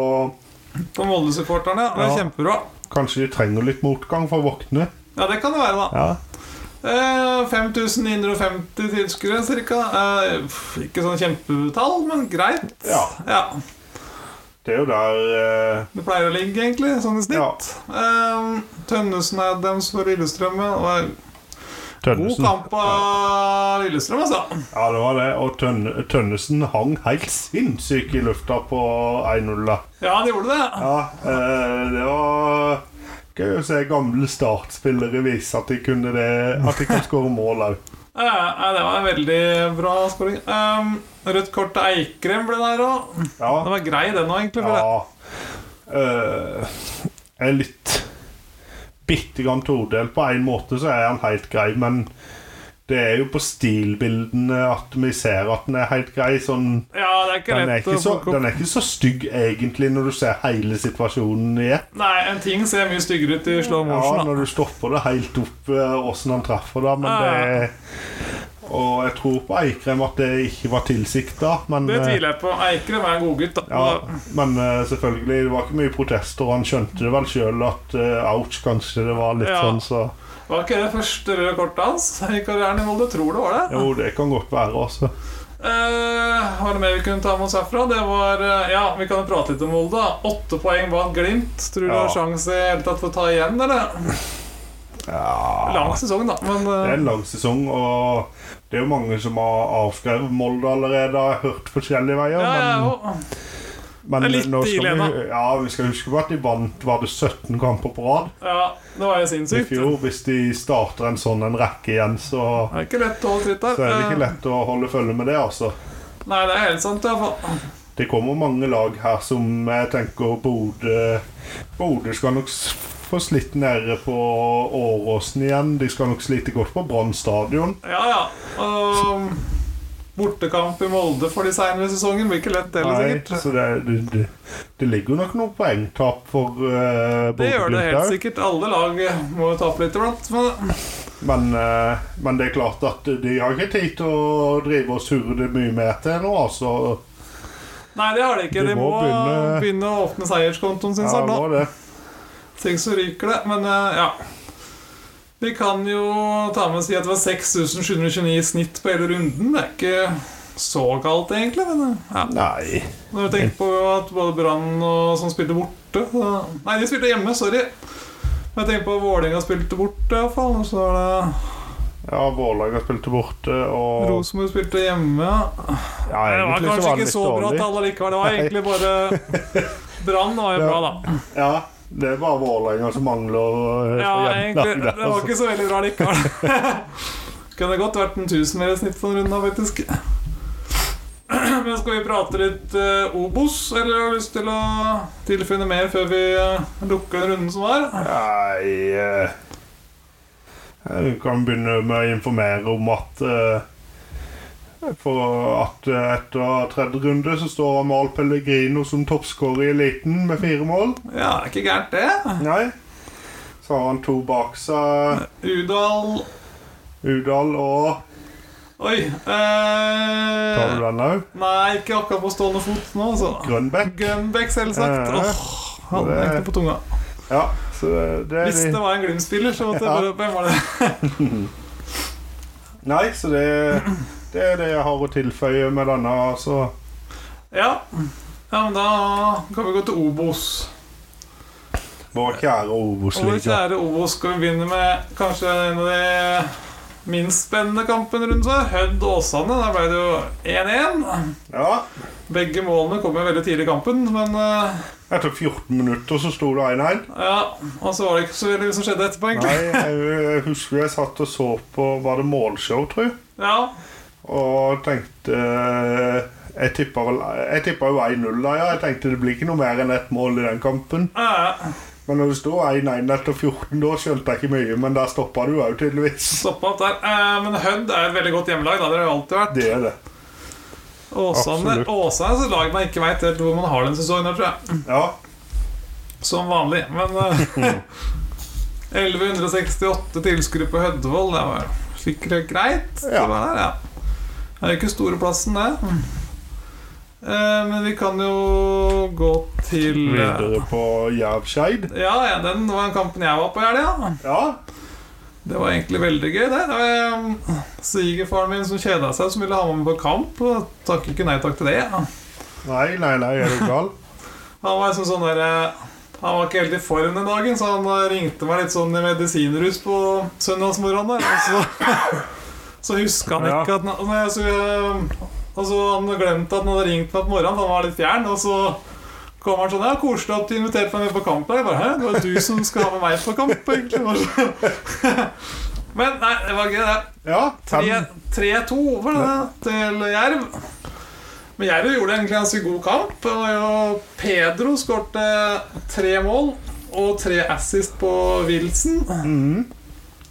Speaker 1: på Molde-supporterne. Det var
Speaker 2: Ja.
Speaker 1: kjempebra.
Speaker 2: Kanskje de trenger litt motgang for å våkne.
Speaker 1: Ja, det kan det være, da.
Speaker 2: Ja.
Speaker 1: Eh, 5950 tilskuere, cirka. Eh, pff, ikke sånn kjempetall, men greit.
Speaker 2: Ja. Det er jo der eh,
Speaker 1: Det pleier å ligge, egentlig, sånn i snitt. Eh, Tønnesen er dems for Lillestrøm. og det var God
Speaker 2: Tønnesen
Speaker 1: kamp av Lillestrøm, altså.
Speaker 2: Ja, det var det. Og Tønn, Tønnesen hang helt sinnssyk i lufta på 1-0. da.
Speaker 1: Ja, han gjorde det.
Speaker 2: Ja, eh, det var gøy å se gamle startspillere vise at de kunne det At de kan skåre mål òg.
Speaker 1: Ja, ja, det var en veldig bra skåring. Ehm, rødt kort til Eikrem ble der òg. Den
Speaker 2: Ja.
Speaker 1: var grei, den òg, egentlig. For
Speaker 2: ja. Eh, jeg er litt bitte grann todelt. På én måte så er han helt grei, men det er jo på stilbildene at vi ser at den er helt grei. sånn
Speaker 1: det. Ja, det er ikke
Speaker 2: Den er
Speaker 1: lett
Speaker 2: ikke,
Speaker 1: å
Speaker 2: så,
Speaker 1: plukke opp.
Speaker 2: den er ikke så stygg egentlig når du ser hele situasjonen i ett.
Speaker 1: Nei, en ting ser mye styggere ut i slow
Speaker 2: Ja,
Speaker 1: motion. da.
Speaker 2: når du stopper det helt opp eh, åssen han treffer, da, men
Speaker 1: Ja, ja.
Speaker 2: det Og jeg tror på Eikrem at det ikke var tilsikta, men
Speaker 1: Det
Speaker 2: eh,
Speaker 1: tviler jeg på. Eikrem er en godgutt, da.
Speaker 2: ja, men eh, selvfølgelig, det var ikke mye protester, og han skjønte det vel sjøl at eh, ouch, kanskje det var litt
Speaker 1: Ja.
Speaker 2: sånn, så
Speaker 1: Var ikke det første røde kortet hans i karrieren i Molde? Tror det var det.
Speaker 2: Jo, det kan godt være, altså.
Speaker 1: Eh, var det mer vi kunne ta med oss herfra? Det var eh, Ja, vi kan jo prate litt om Molde. da. Åtte poeng bak Glimt. Tror du
Speaker 2: Ja.
Speaker 1: har sjanse i det hele tatt for å ta igjen, eller?
Speaker 2: Ja.
Speaker 1: Lang sesong, da, men
Speaker 2: Det er
Speaker 1: eh,
Speaker 2: en lang sesong, og det er jo mange som har avskrevet Molde allerede. Jeg har hørt forskjellige veier.
Speaker 1: ja, ja,
Speaker 2: men-
Speaker 1: jo.
Speaker 2: Men
Speaker 1: Det er litt
Speaker 2: nå skal
Speaker 1: tidlig
Speaker 2: vi, ja, vi skal huske på at de vant var det 17 kamper på rad
Speaker 1: ja, det var jo
Speaker 2: i
Speaker 1: sinnssykt.
Speaker 2: fjor. Hvis de starter en sånn en rekke igjen, så,
Speaker 1: Det er ikke lett å holde tritt der.
Speaker 2: så er det ikke lett å holde følge med det, altså.
Speaker 1: Eh, Nei, det er helt sant. i hvert fall.
Speaker 2: det kommer mange lag her som jeg tenker Bodø Bodø skal nok s- få slitt nede på Åråsen igjen. De skal nok slite godt på Brann stadion.
Speaker 1: Ja, ja. Og bortekamp i Molde for de seinere sesongen blir ikke lett, det heller,
Speaker 2: Nei,
Speaker 1: sikkert. eh,
Speaker 2: så det, det, det, det ligger jo nok noen poengtap for uh,
Speaker 1: Det gjør det helt
Speaker 2: sikkert
Speaker 1: sikkert. Alle lag må jo tape litt iblant. Men
Speaker 2: Men, eh, men det er klart at de har ikke tid til å drive og surre det mye mer til nå, altså.
Speaker 1: nei, det har de ikke.
Speaker 2: De
Speaker 1: De må
Speaker 2: må
Speaker 1: begynne,
Speaker 2: begynne-
Speaker 1: å åpne seierskontoen sin
Speaker 2: Ja,
Speaker 1: snart.
Speaker 2: det
Speaker 1: nå.
Speaker 2: var det.
Speaker 1: Ting så ryker det. Men eh, ja. Vi kan jo ta med og si at det var 6729 i snitt på hele runden. Det er ikke så galt, egentlig. Men eh, ja.
Speaker 2: Nei.
Speaker 1: Når vi tenker på at både Brann og som spilte borte så- Nei, de spilte hjemme, sorry. Men jeg tenker på at Vålerenga spilte borte, iallfall. Og så er det
Speaker 2: Ja, Vårlaga spilte borte, og
Speaker 1: Rosenborg spilte hjemme. Ja,
Speaker 2: ja,
Speaker 1: det var kanskje
Speaker 2: egentlig så var det
Speaker 1: ikke
Speaker 2: litt
Speaker 1: så bra
Speaker 2: dårlig.
Speaker 1: tall allikevel. Det var egentlig bare
Speaker 2: [laughs]
Speaker 1: Brann var jo
Speaker 2: Ja.
Speaker 1: bra, da.
Speaker 2: Ja, det er bare Vårlaga som mangler eh,
Speaker 1: Ja,
Speaker 2: for jevnt
Speaker 1: egentlig.
Speaker 2: lag,
Speaker 1: Det var ikke så veldig bra likevel. [laughs] Kunne godt vært en tusen mer i snitt på den runden, her, faktisk. [clears throat] Men skal vi prate litt eh, Obos, eller har du lyst til å tilfinne mer før vi eh, lukker den runden som var?
Speaker 2: Nei eh, Jeg kan begynne med å informere om at eh, For at eh, etter tredje runde så står Amahl Pellegrino som toppskårer i eliten med fire mål.
Speaker 1: Ja, det er ikke gærent, det.
Speaker 2: Nei. Så har han to bak seg.
Speaker 1: Udal
Speaker 2: Udal og
Speaker 1: Oi.
Speaker 2: Tar du
Speaker 1: Eh,
Speaker 2: den òg?
Speaker 1: nei, ikke akkurat på stående fot nå, altså.
Speaker 2: Grønbekk.
Speaker 1: Gunbeck, selvsagt.
Speaker 2: Eh,
Speaker 1: Åh, han
Speaker 2: det-
Speaker 1: hengte på tunga.
Speaker 2: Ja, så det er
Speaker 1: Hvis det
Speaker 2: de.
Speaker 1: var en Glimt-spiller, så måtte jeg bare Hvem var det?
Speaker 2: Nei, så det, det er det jeg har å tilføye med denne. Altså.
Speaker 1: Ja. ja, men da kan vi gå til Obos.
Speaker 2: Vår kjære
Speaker 1: Og vår
Speaker 2: Obos-liga.
Speaker 1: kjære Obos skal vi begynne med kanskje en av de minst spennende kampene rundt seg. Hødd og Åsane. Der ble det jo 1-1.
Speaker 2: Ja.
Speaker 1: Begge målene kom jo veldig tidlig i kampen, men eh,
Speaker 2: Etter 14 minutter så sto det 1-1.
Speaker 1: ja. Og så var det ikke så veldig mye som skjedde etterpå, egentlig.
Speaker 2: Nei, jeg, jeg husker jeg satt og så på Var det målshow, tror jeg?
Speaker 1: Ja,
Speaker 2: Og tenkte eh, Jeg tippa vel Jeg tippa jo 1-0 da, ja. Jeg tenkte det blir ikke noe mer enn ett mål i den kampen.
Speaker 1: eh,
Speaker 2: Men når det sto 1-1 etter 14, da skjønte jeg ikke mye. Men der stoppa du òg, tydeligvis.
Speaker 1: stoppa opp der. Eh, Men Hødd er et veldig godt hjemmelag. Da. Det har det jo alltid vært.
Speaker 2: Det er det.
Speaker 1: Åsane
Speaker 2: absolutt.
Speaker 1: Åsane er et lag man ikke veit helt hvor man har den sesongen, her, tror jeg.
Speaker 2: Ja.
Speaker 1: Som vanlig, men eh, [laughs] 1168 tilskuere på Hødvold, det var sikkert greit. Det
Speaker 2: Ja.
Speaker 1: var der, ja. Det er jo ikke store plassen, det. Eh, men vi kan jo gå til eh,
Speaker 2: Videre på Jerv-Skeid.
Speaker 1: ja, ja, den var den kampen jeg var på i helga.
Speaker 2: Ja.
Speaker 1: Det var egentlig veldig gøy, det. det var, eh, Svigerfaren min som kjeda seg, som ville ha meg med på kamp, og takket ikke nei takk til det.
Speaker 2: Nei, nei, nei, er du gal?
Speaker 1: Han var liksom sånn der eh, Han var ikke helt i form den dagen, så han eh, ringte meg litt sånn i medisinrus på søndagsmorgenen der. Og så, [laughs] så huska han
Speaker 2: Ja.
Speaker 1: ikke at han- nei, så, eh, Og så han glemte at han hadde ringt meg på morgenen, han var litt fjern. Og så kom han sånn Ja, koselig at du inviterte meg med på kamp. her.» Jeg bare Hæ, det var du som skal ha med meg på kamp, egentlig. Bare så- [laughs] Men nei, det var gøy, det.
Speaker 2: Ja. Fem.
Speaker 1: 3-2 var det det, til Jerv. Men Jerv gjorde egentlig en ganske god kamp. Det var jo Pedro skårte tre mål og tre assist på Wilson.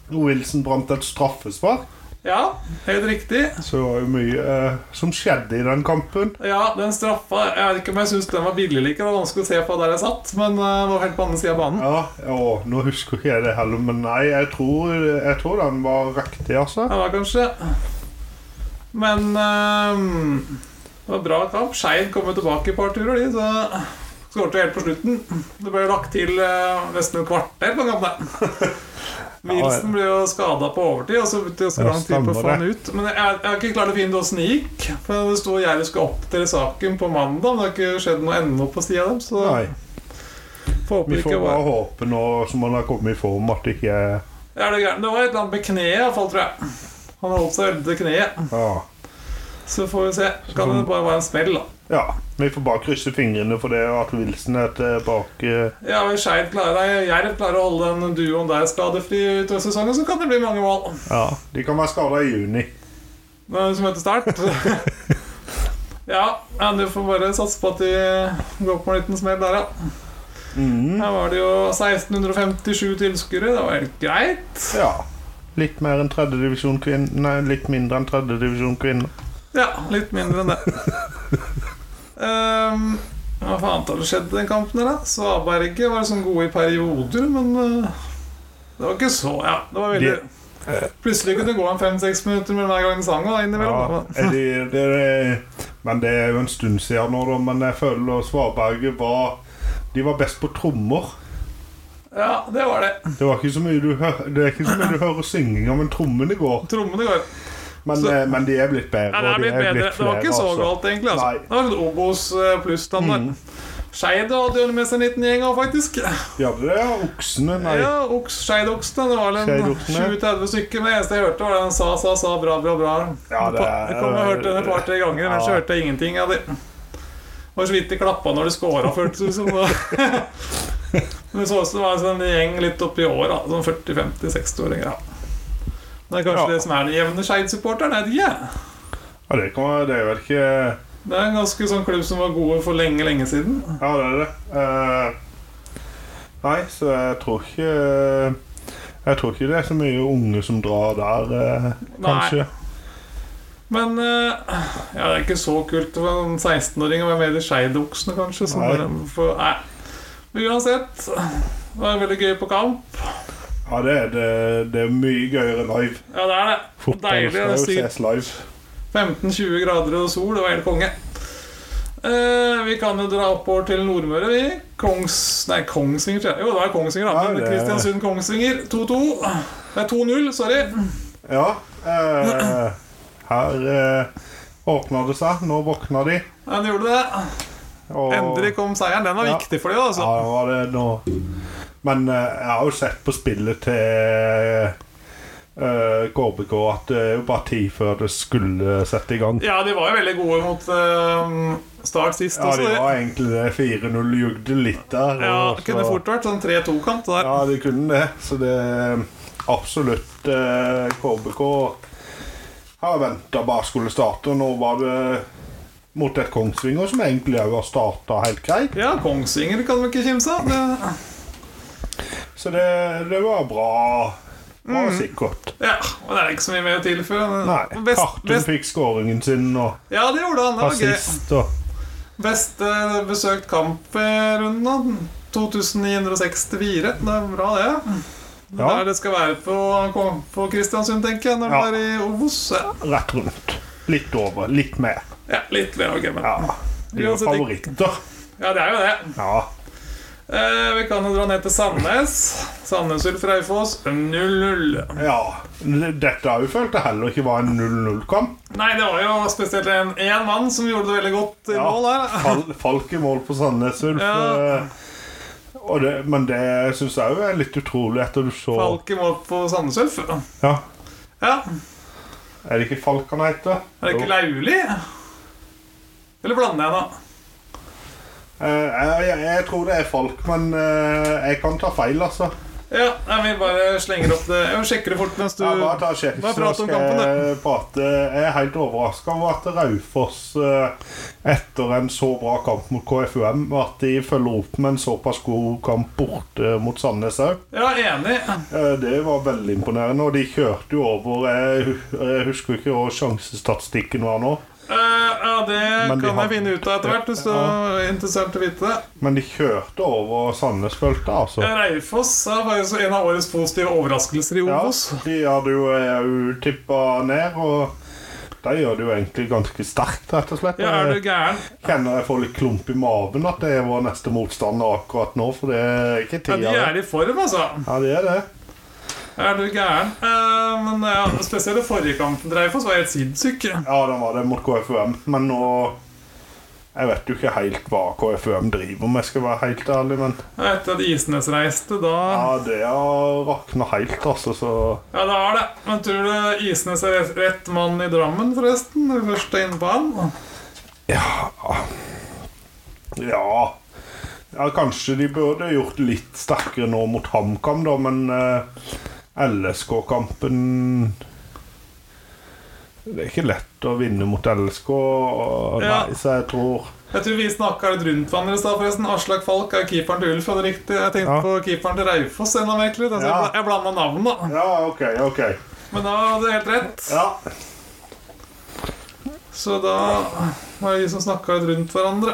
Speaker 2: Wilson brant et straffespark.
Speaker 1: Ja, helt riktig.
Speaker 2: Så det var jo mye eh, som skjedde i den kampen.
Speaker 1: Ja, den straffa Jeg vet ikke om jeg syns den var billig eller ikke. Det var vanskelig å se på der jeg satt, men eh, det var helt på andre sida av banen.
Speaker 2: Ja, og nå husker ikke jeg det heller, men nei, jeg tror, jeg tror den var riktig, altså.
Speaker 1: Det var kanskje Men eh, det var bra kamp. Skeid kom jo tilbake i et par turer, de. Så skårte helt på slutten. Det ble lagt til eh, nesten et kvarter på
Speaker 2: [laughs]
Speaker 1: kampen. Wilson ble jo skada på overtid, og så brukte det så
Speaker 2: Ja,
Speaker 1: lang tid på å få
Speaker 2: stemmer
Speaker 1: han ut. Men jeg, jeg har ikke klart å finne ut åssen det gikk. For Det sto at Jerv skulle oppdatere saken på mandag, men det har ikke skjedd noe ennå på sida dem. Så
Speaker 2: Nei,
Speaker 1: håper
Speaker 2: vi
Speaker 1: det
Speaker 2: får
Speaker 1: ikke
Speaker 2: bare
Speaker 1: var
Speaker 2: håpe nå som han har kommet i form at det ikke er
Speaker 1: Ja, det, er gærent. det var et eller annet med kneet, iallfall, tror jeg. Han holdt seg veldig til kneet.
Speaker 2: ja.
Speaker 1: Så får vi se. Kan det bare være en smell, da.
Speaker 2: ja. Vi får bare krysse fingrene for det at Wilson er tilbake.
Speaker 1: Ja, men Skeid klarer nei, Jerv klarer å holde den duoen der skadefri utover sesongen, så kan det bli mange mål.
Speaker 2: Ja. De kan være skada i juni.
Speaker 1: Men Som heter start. Ja, ja, du får bare satse på at de går på en liten smell der, ja. Her var det jo 1657 tilskuere. Det var helt greit.
Speaker 2: Ja. Litt mer enn tredjedivisjon kvinner Nei, litt mindre enn tredjedivisjon kvinner.
Speaker 1: Ja, litt mindre enn det. Ehm, hva faen har det skjedd i den kampen her, da? Svaberget var sånn gode i perioder, men eh, det var ikke så Ja, det var veldig Plutselig kunne det gå en fem-seks minutter mellom hver gang de sang. Da, innimellom.
Speaker 2: Ja, er de, det er, men det er jo en stund siden nå, da. Men jeg føler Svaberget var De var best på trommer.
Speaker 1: ja, det var det.
Speaker 2: Det, var ikke så mye du hø- det er ikke så mye du hører synging om, men trommene går.
Speaker 1: Trommene går.
Speaker 2: Men,
Speaker 1: Så-
Speaker 2: eh, men de er blitt bedre.
Speaker 1: Ja, det er
Speaker 2: og de
Speaker 1: blitt
Speaker 2: er
Speaker 1: bedre.
Speaker 2: blitt
Speaker 1: det var ikke så
Speaker 2: flere, altså.
Speaker 1: galt, egentlig. Altså.
Speaker 2: Nei. Mm.
Speaker 1: Det var sånn Obos eh, pluss-standard. Skeid hadde jo det med seg 19-gjenga, faktisk.
Speaker 2: Ja, det er oksene. Nei.
Speaker 1: Ja, oks, Skeidoksene. Det var vel en
Speaker 2: Skeidoksene.
Speaker 1: 37 stykker. Men det eneste jeg hørte, var det han sa, sa, sa, bra, bra, bra.
Speaker 2: Ja, det er-
Speaker 1: jeg kom og hørte den et par-tre ganger, men så
Speaker 2: Ja.
Speaker 1: hørte jeg ingenting av det. Det var så vidt de klappa når de scora, føltes det
Speaker 2: [laughs]
Speaker 1: som. da. Men det så ut som det var en sånn gjeng litt oppi år, da, sånn 40-50-60-åringer. Ja. Det er kanskje
Speaker 2: Ja.
Speaker 1: det som er den jevne Skeid-supporteren. Jeg vet ikke.
Speaker 2: Ja, det, kan, være- det er vel ikke
Speaker 1: Det er en ganske sånn klubb som var gode for lenge, lenge siden.
Speaker 2: Ja, det er det. Eh, nei, så jeg tror ikke Jeg tror ikke det er så mye unge som drar der, eh, kanskje.
Speaker 1: Men eh, ja, det er ikke så kult for en 16-åring å være med i Skeidoksene, kanskje. Som
Speaker 2: Nei.
Speaker 1: bare, for, nei. Men uansett, det var veldig gøy på kamp.
Speaker 2: Ja, det er, det, det er mye gøyere live.
Speaker 1: Ja, det er det. Og
Speaker 2: Fotball
Speaker 1: Deilig.
Speaker 2: skal jo
Speaker 1: Det er
Speaker 2: ses live.
Speaker 1: 15-20 grader og sol. Det var helt konge. Eh, vi kan jo dra oppover til Nordmøre, vi. Kongs... Nei, Kongsvinger, tror jeg. Jo, det var Kongsvinger, da.
Speaker 2: Ja,
Speaker 1: Men
Speaker 2: det-
Speaker 1: Kristiansund-Kongsvinger 2-2. Nei, 2-0, sorry.
Speaker 2: Ja. eh, her eh, åpna det seg. Nå våkna de.
Speaker 1: Ja, det gjorde det.
Speaker 2: Og,
Speaker 1: Endelig kom seieren. Den var
Speaker 2: Ja.
Speaker 1: viktig for dem, altså.
Speaker 2: Ja, det var det nå. Men eh, jeg har jo sett på spillet til eh, KBK at det er jo bare tid før det skulle sette i gang.
Speaker 1: Ja, de var jo veldig gode mot eh, Start sist
Speaker 2: Ja,
Speaker 1: også.
Speaker 2: det
Speaker 1: de.
Speaker 2: var egentlig det. 4-0 jugde litt der.
Speaker 1: ja,
Speaker 2: og
Speaker 1: det
Speaker 2: så-
Speaker 1: kunne fort vært sånn 3-2-kant. det der.
Speaker 2: Ja, de kunne det. Så det er absolutt eh, KBK har venta bare skulle starte. Nå var det mot et Kongsvinger som egentlig òg har starta helt greit.
Speaker 1: Ja, Kongsvinger kan vi ikke kimse av. Det-
Speaker 2: Så det, det var bra. Bra sikkert.
Speaker 1: Ja, og det er ikke så mye mer å tilføye. Mm. men-
Speaker 2: Nei.
Speaker 1: Best-
Speaker 2: Kartum
Speaker 1: best-
Speaker 2: fikk skåringen sin og
Speaker 1: Ja, det gjorde han. Det var gøy.
Speaker 2: assist og
Speaker 1: Beste besøkt kamp i runden, da. 2964. Det er bra, det. Det er
Speaker 2: Ja.
Speaker 1: der det skal være på, på Kristiansund, tenker jeg, når
Speaker 2: Ja.
Speaker 1: det er i Obos. Ja.
Speaker 2: rett rundt. Litt over. Litt mer.
Speaker 1: ja, litt mer ok, men
Speaker 2: Ja. De var
Speaker 1: Uansett, ikke-
Speaker 2: favoritter.
Speaker 1: Ja, det er jo det.
Speaker 2: Ja.
Speaker 1: Eh, vi kan jo dra ned til Sandnes. Sandnes Ulf Raufoss 0-0.
Speaker 2: Ja, dette har jo følt det heller ikke var en 0-0-kamp.
Speaker 1: Nei, det var jo spesielt en én mann som gjorde det veldig godt i
Speaker 2: Ja.
Speaker 1: mål her.
Speaker 2: Fal- Falk i mål på Sandnes Ulf.
Speaker 1: Ja.
Speaker 2: eh, Og det, men det syns jeg jo er litt utrolig etter du så
Speaker 1: Falk i mål på Sandnes Ulf.
Speaker 2: Ja,
Speaker 1: Ja.
Speaker 2: Er det ikke Falk han heter?
Speaker 1: Er det ikke
Speaker 2: Jo.
Speaker 1: Lauli? Eller blander jeg nå?
Speaker 2: Eh, jeg, jeg, jeg tror det er Falk, men eh, jeg kan ta feil, altså.
Speaker 1: Ja, nei, vi bare slenger opp det. Jeg sjekker det fort mens du
Speaker 2: Ja, bare ta sjekk,
Speaker 1: bare
Speaker 2: så
Speaker 1: prat om
Speaker 2: skal
Speaker 1: kampen,
Speaker 2: jeg prate. Jeg er helt overraska over at Raufoss, eh, etter en så bra kamp mot KFUM, at de følger opp med en såpass god kamp borte mot Sandnes òg.
Speaker 1: Ja, enig.
Speaker 2: Eh, Det var veldig imponerende, og de kjørte jo over Jeg hu- jeg husker ikke hva sjansestatistikken var nå,
Speaker 1: Eh, ja, det
Speaker 2: Men
Speaker 1: kan
Speaker 2: de
Speaker 1: jeg
Speaker 2: har-
Speaker 1: finne ut av etter hvert, hvis du er interessert i å vite det.
Speaker 2: men de kjørte over Sandnes, følte jeg, altså.
Speaker 1: Raufoss er faktisk en av årets positive overraskelser i
Speaker 2: Ja,
Speaker 1: Obos.
Speaker 2: de hadde jo òg tippa ned, og de gjør det jo egentlig ganske sterkt, rett og slett.
Speaker 1: Ja, er du
Speaker 2: Jeg
Speaker 1: gæren?
Speaker 2: kjenner jeg får litt klump i maven at det er vår neste motstander akkurat nå, for det er ikke
Speaker 1: Ja, de
Speaker 2: tida.
Speaker 1: er i form, altså.
Speaker 2: Ja, det er det.
Speaker 1: Er du gæren? Eh, men ja, spesielt den forrige kampen Dreifoss var helt sinnssyk.
Speaker 2: Ja, den var det mot KFUM, men nå Jeg vet jo ikke helt hva KFUM driver med, skal jeg være helt ærlig, men
Speaker 1: Etter at Isnes reiste, da
Speaker 2: Ja, det har rakna helt, altså, så
Speaker 1: Ja, det er det. Men tror du Isnes er rett- rett mann i Drammen, forresten? Når vi først er inne på han?
Speaker 2: Ja. ja kanskje de burde gjort litt sterkere nå mot HamKam, da, men eh, LSK-kampen Det er ikke lett å vinne mot LSK. og-
Speaker 1: Ja.
Speaker 2: Nei, så jeg tror
Speaker 1: Jeg tror vi snakka litt rundt hverandre i stad, forresten. Aslak Falk er keeperen til Ulf. hadde riktig Jeg tenkte
Speaker 2: Ja.
Speaker 1: på keeperen til Raufoss. enda mer, egentlig. Altså,
Speaker 2: Ja.
Speaker 1: Jeg, bla- jeg blanda navn, da.
Speaker 2: Ja, OK. ok
Speaker 1: Men da hadde jeg helt rett.
Speaker 2: Ja,
Speaker 1: Så da var det de som snakka litt rundt hverandre.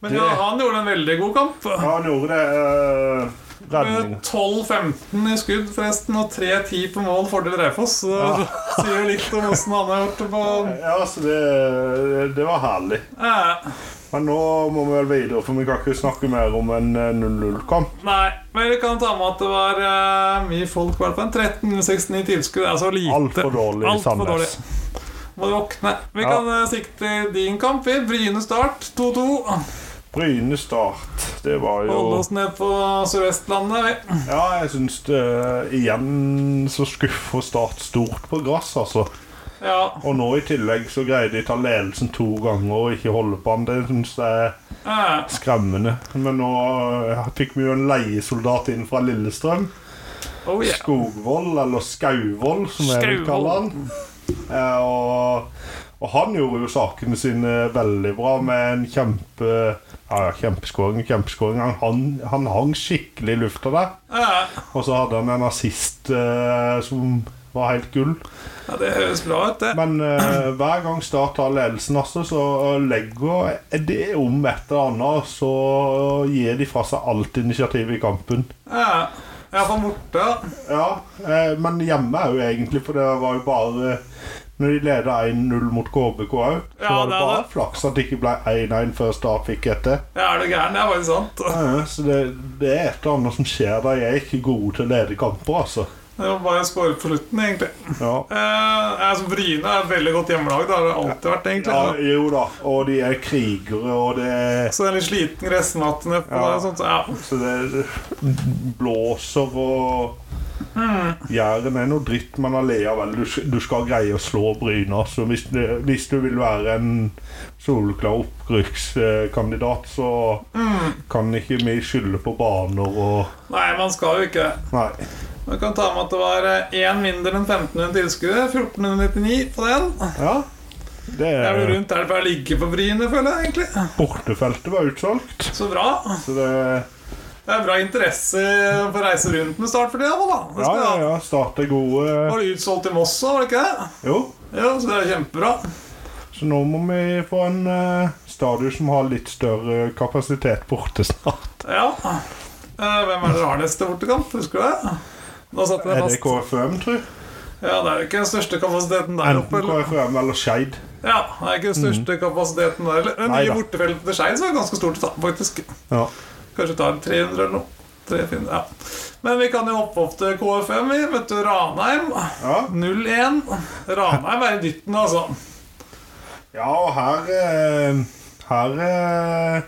Speaker 1: Men ja,
Speaker 2: Det-
Speaker 1: han gjorde en veldig god kamp.
Speaker 2: ja han gjorde det. eh, redning.
Speaker 1: Med 12-15 i skudd, forresten, og 3-10 på mål fordel Raufoss. Så
Speaker 2: Ja.
Speaker 1: det [laughs] sier jo litt om åssen han har gjort det på
Speaker 2: Ja, så det, det var herlig.
Speaker 1: eh,
Speaker 2: Men nå må vi vel videre, for vi kan ikke snakke mer om en eh, 0-0-kamp.
Speaker 1: Nei, men vi kan ta med at det var eh, mye folk, i hvert fall. 1369 tilskudd. Det er så lite.
Speaker 2: Altfor dårlig i
Speaker 1: Alt for
Speaker 2: Sandnes.
Speaker 1: Må våkne. Vi
Speaker 2: Ja.
Speaker 1: kan eh, sikte din kamp, vi. Bryne start 2-2.
Speaker 2: Bryne start. Det var jo
Speaker 1: Holde oss ned på Sør-Vestlandet, vi.
Speaker 2: Ja, jeg syns det igjen så skuffer Start stort på gress, altså.
Speaker 1: Ja.
Speaker 2: Og nå i tillegg så greide de å ta ledelsen to ganger og ikke holde på den. Det syns jeg er
Speaker 1: eh,
Speaker 2: skremmende. Men nå eh, fikk vi jo en leiesoldat inn fra Lillestrøm.
Speaker 1: Oh yeah.
Speaker 2: Skogvold, eller Skauvold, som jeg vil kalle
Speaker 1: Skauvold.
Speaker 2: han. Eh, Og, og han gjorde jo sakene sine veldig bra med en kjempe ja, ja, kjempeskåring. kjempeskåring. Han, han, han hang skikkelig i lufta der.
Speaker 1: Eh,
Speaker 2: Og så hadde han en assist eh, som var helt gull.
Speaker 1: Ja, det høres bra ut, det.
Speaker 2: Men eh, hver gang Start tar ledelsen, altså, så legger de om et eller annet. og Så gir de fra seg alt initiativ i kampen.
Speaker 1: Eh, Ja, for borte.
Speaker 2: Ja, eh, men hjemme er jo egentlig, for det var jo bare Når de leda 1-0 mot KBK òg, så
Speaker 1: Ja,
Speaker 2: var det
Speaker 1: det er
Speaker 2: bare
Speaker 1: det.
Speaker 2: flaks at det ikke ble 1-1 før Start fikk etter.
Speaker 1: Ja, er du gæren? Det er faktisk sant.
Speaker 2: Så det, det er et eller annet som skjer der. Jeg er ikke god til å lede kamper, altså.
Speaker 1: Det var bare å score på slutten, egentlig.
Speaker 2: Ja.
Speaker 1: Eh, jeg som Bryne er et veldig godt hjemmelag. Det har det alltid vært,
Speaker 2: Ja,
Speaker 1: egentlig.
Speaker 2: jo da, og de er krigere, og det er
Speaker 1: Så det er litt sliten gressmatte nedpå
Speaker 2: Ja.
Speaker 1: der og sånt. så Ja.
Speaker 2: Så det blåser og Jæren er noe dritt, men allikevel, du, du skal greie å slå Bryna. Så hvis, det- hvis du vil være en soleklar opprykkskandidat, så kan ikke vi skylde på baner og
Speaker 1: Nei, man skal jo ikke det.
Speaker 2: Nei.
Speaker 1: Vi kan ta med at det var én mindre enn 1500 tilskuere. 1499 på den.
Speaker 2: Ja. Det
Speaker 1: Jeg blir
Speaker 2: er
Speaker 1: rundt der det bare ligger på Bryne, føler jeg egentlig.
Speaker 2: Bortefeltet var utsolgt,
Speaker 1: Så bra.
Speaker 2: så det
Speaker 1: Det er bra interesse for å reise rundt med start for tida, da. Det
Speaker 2: Ja,
Speaker 1: skal
Speaker 2: ja,
Speaker 1: jeg ha.
Speaker 2: ja. Start er gode.
Speaker 1: Var det utsolgt i Moss òg, var det ikke det?
Speaker 2: Jo.
Speaker 1: Jo, så det er kjempebra.
Speaker 2: Så nå må vi få en eh, stadion som har litt større kapasitet borte snart.
Speaker 1: Ja. Eh, Hvem er det dere har neste bortekamp? Husker du det? Da satt jeg
Speaker 2: Er
Speaker 1: fast.
Speaker 2: det KFUM, tror jeg?
Speaker 1: Ja, det er jo ikke den største kapasiteten der oppe.
Speaker 2: Enten
Speaker 1: Eller?
Speaker 2: KFUM eller Skeid.
Speaker 1: Ja, det er ikke den
Speaker 2: Mm.
Speaker 1: største kapasiteten der eller? Det
Speaker 2: Nei
Speaker 1: nye
Speaker 2: da.
Speaker 1: bortefeltet til Skeid var ganske stort, da, faktisk.
Speaker 2: Ja.
Speaker 1: Kanskje tar 300 eller noe. 300, ja. Men vi kan jo hoppe opp til KFM. Vi møtte Ranheim.
Speaker 2: Ja.
Speaker 1: 0-1. Ranheim er i dytten, altså.
Speaker 2: ja, og her eh, Her eh,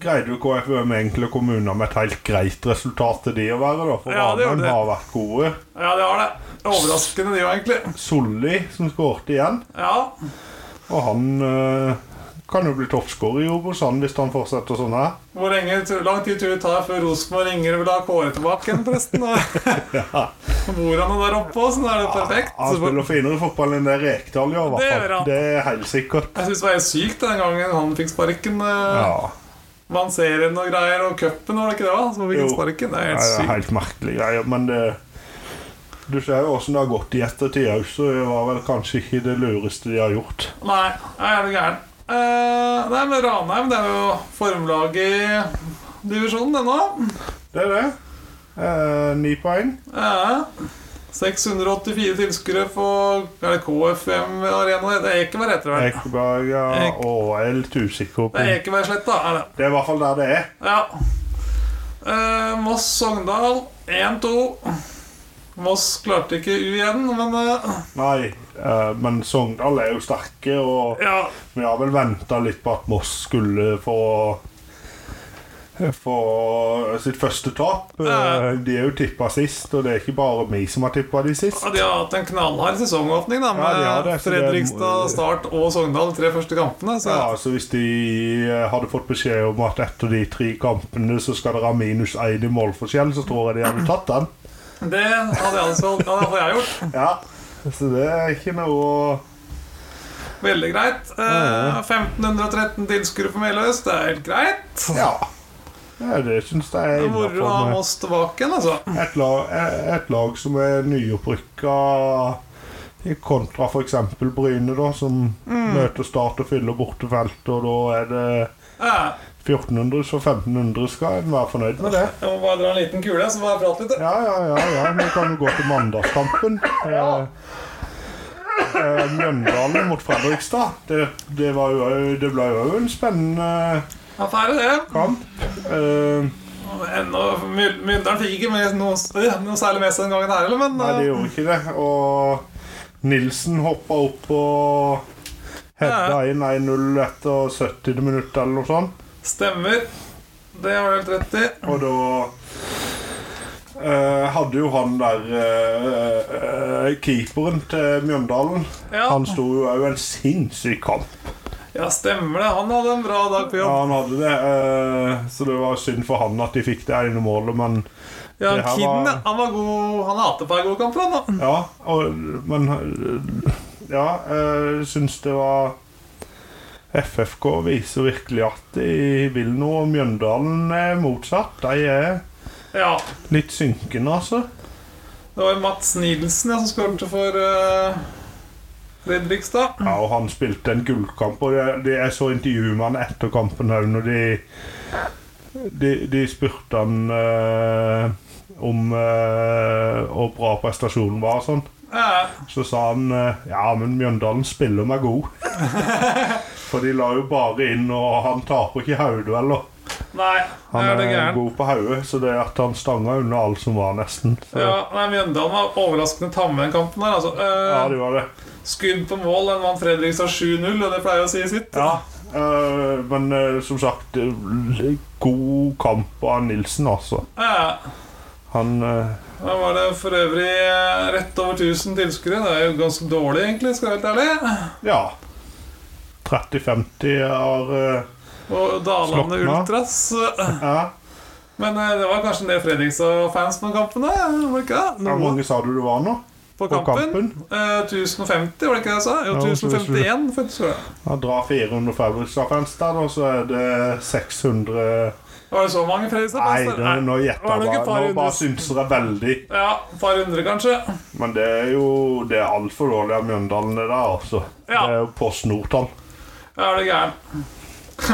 Speaker 2: greide jo KFUM egentlig å komme unna med et helt greit resultat til de å være, da. For
Speaker 1: Ja, det gjorde
Speaker 2: Ranheim
Speaker 1: det.
Speaker 2: har vært gode.
Speaker 1: Ja, det har det. Overraskende, de jo, egentlig.
Speaker 2: Solli, som skårte igjen,
Speaker 1: Ja.
Speaker 2: og han eh, kan jo bli toppskårer i Obos-Sand hvis han fortsetter sånn her.
Speaker 1: Hvor lenge, hvor lang tid tror du det tar før Rosenborg ringer og vil ha Kåre tilbake igjen, forresten?
Speaker 2: [laughs]
Speaker 1: Og Bor han jo der oppe også, så da er det perfekt.
Speaker 2: Han spiller finere fotball enn det Rekdal gjør, i
Speaker 1: Det
Speaker 2: hvert
Speaker 1: gjør han.
Speaker 2: fall. Det er helt sikkert.
Speaker 1: Jeg syns det var helt sykt den gangen han fikk sparken. Ja.
Speaker 2: Ja.
Speaker 1: Man ser henne og greier, og cupen, var det ikke det? da? Så fikk han
Speaker 2: Jo.
Speaker 1: sparken. Det er
Speaker 2: Nei,
Speaker 1: helt
Speaker 2: det er
Speaker 1: sykt.
Speaker 2: helt merkelige greier, men det Du ser jo åssen det har gått i ettertid òg, så det var vel kanskje ikke det lureste de har gjort.
Speaker 1: Nei, jeg er det gæren. Eh, nei, men Ranheim det er jo formlaget i divisjonen ennå.
Speaker 2: Det er det. Eh, Ni poeng.
Speaker 1: Eh, 684 tilskuere på er det KFM Arena. Det er Ekeberg, heter det vel.
Speaker 2: Ekeberg ja,
Speaker 1: Ek-
Speaker 2: og jeg er litt usikker på
Speaker 1: Det er Ekebergsletta, er det.
Speaker 2: Det er i hvert fall der det er.
Speaker 1: Ja. Eh, Moss-Sogndal 1-2. Moss klarte ikke U igjen, men eh,
Speaker 2: Nei, eh, men Sogndal er jo sterke, og
Speaker 1: ja.
Speaker 2: vi har vel venta litt på at Moss skulle få få sitt første tap.
Speaker 1: Ja.
Speaker 2: Eh, De er jo tippa sist, og det er ikke bare vi som har tippa de sist.
Speaker 1: De har hatt en knallhard sesongåpning da, med
Speaker 2: Ja, de har det, så det er-
Speaker 1: Fredrikstad, Start og Sogndal de tre første kampene. Så
Speaker 2: Ja, altså Hvis de eh, hadde fått beskjed om at etter de tre kampene så skal dere ha minus én i målforskjell, så tror jeg de hadde tatt den.
Speaker 1: det hadde jeg, altså, ja, det hadde jeg gjort.
Speaker 2: Ja, Så det er ikke noe å-
Speaker 1: Veldig greit. Eh, 1513 tilskuere for Meløs, det er helt greit.
Speaker 2: Ja. ja det syns jeg er
Speaker 1: Det er Moro å ha
Speaker 2: innafor.
Speaker 1: Moss tilbake igjen, altså.
Speaker 2: Et, lag- eh, et lag som er nyopprykka i kontra f.eks. Bryne, da, som
Speaker 1: Mm.
Speaker 2: møter Start og fyller bortefelt, og da er det
Speaker 1: Eh,
Speaker 2: 1400, så 1500 skal en være fornøyd med det.
Speaker 1: Jeg må bare dra en liten kule, så får jeg prate litt.
Speaker 2: Ja, ja, ja, ja. Vi kan jo gå til mandagskampen. Eh, eh, Mjøndalen mot Fredrikstad. Det, det, var jo, det ble jo en spennende
Speaker 1: Affære, det.
Speaker 2: kamp. Eh,
Speaker 1: Ennå, Myl- Mylderen fikk ikke med noe, øh, [laughs] noe særlig med seg den gangen her, eller? Men
Speaker 2: nei, det
Speaker 1: øh,
Speaker 2: gjorde ikke det. Og Nilsen hoppa opp og hedda inn 1-0 etter 70. minutt eller noe sånt.
Speaker 1: stemmer. Det har du helt rett i.
Speaker 2: Og da eh, hadde jo han der eh, eh, keeperen til Mjøndalen
Speaker 1: Ja.
Speaker 2: Han sto jo òg en sinnssyk kamp.
Speaker 1: ja, stemmer det. Han hadde en bra dag på
Speaker 2: Ja,
Speaker 1: jobb.
Speaker 2: han hadde det, eh, så det var synd for han at de fikk det ene målet, men
Speaker 1: Ja,
Speaker 2: det her
Speaker 1: Kidden,
Speaker 2: var-
Speaker 1: ja. han var god. Han har hatt et par gode kamper, han da.
Speaker 2: Ja, og, men eh, Ja, jeg syns det var FFK viser virkelig at de vil noe, og Mjøndalen er motsatt. De er
Speaker 1: Ja.
Speaker 2: litt synkende, altså.
Speaker 1: Det var Mats Nielsen ja, som skåret for øh, Fredrikstad.
Speaker 2: Ja, og han spilte en gullkamp, og det, det jeg så intervjuet med han etter kampen òg, når de De, de spurte han eh, om eh, hvor bra prestasjonen var og sånn.
Speaker 1: Ja,
Speaker 2: Så sa han eh, Ja, men Mjøndalen spiller meg
Speaker 1: [laughs]
Speaker 2: god. For de la jo bare inn, og han taper ikke hodedueller.
Speaker 1: nei,
Speaker 2: Han
Speaker 1: det er det
Speaker 2: er
Speaker 1: gæren.
Speaker 2: god på hodet, så det at han stanga unna alt som var, nesten. Så,
Speaker 1: Ja,
Speaker 2: ja.
Speaker 1: nei, Mjøndalen var overraskende tamme den kampen der. Altså, Øh,
Speaker 2: det var det.
Speaker 1: Skudd på mål, den vant Fredrikstad 7-0, og det pleier å si sitt.
Speaker 2: Ja. eh, men eh, som sagt, eh, god kamp av Nilsen, altså.
Speaker 1: Ja.
Speaker 2: Han eh,
Speaker 1: Da var det for øvrig eh, rett over 1000 tilskuere. Det er jo ganske dårlig, egentlig. skal jeg være helt ærlig.
Speaker 2: Ja. 30-50 har eh,
Speaker 1: Og Dalane
Speaker 2: Slokna.
Speaker 1: Ultras. eh,
Speaker 2: Ja.
Speaker 1: Men eh, det var kanskje en del Fredrikstad-fans på kampen. da, var det ikke det?
Speaker 2: Hvor
Speaker 1: Noen
Speaker 2: mange sa du det var nå?
Speaker 1: på
Speaker 2: på
Speaker 1: kampen.
Speaker 2: kampen?
Speaker 1: Eh, 1050, var det ikke det jeg sa? Jo,
Speaker 2: Ja, så hvis du-
Speaker 1: 1051. faktisk var det.
Speaker 2: Han drar 400 Fredrikstad-fans der, og så er det 600
Speaker 1: Var det så mange
Speaker 2: Nei,
Speaker 1: Fredrikstad-fans?
Speaker 2: det,
Speaker 1: der?
Speaker 2: nå gjetter
Speaker 1: Var det
Speaker 2: jeg
Speaker 1: ikke et
Speaker 2: bare.
Speaker 1: par
Speaker 2: Nå
Speaker 1: hundre?
Speaker 2: bare synser jeg veldig.
Speaker 1: Ja, et par hundre, kanskje.
Speaker 2: Men det er jo Det er altfor dårlig av Mjøndalen, det der, altså.
Speaker 1: Ja.
Speaker 2: Det er jo Post Nordtall.
Speaker 1: Ja, er det gæren.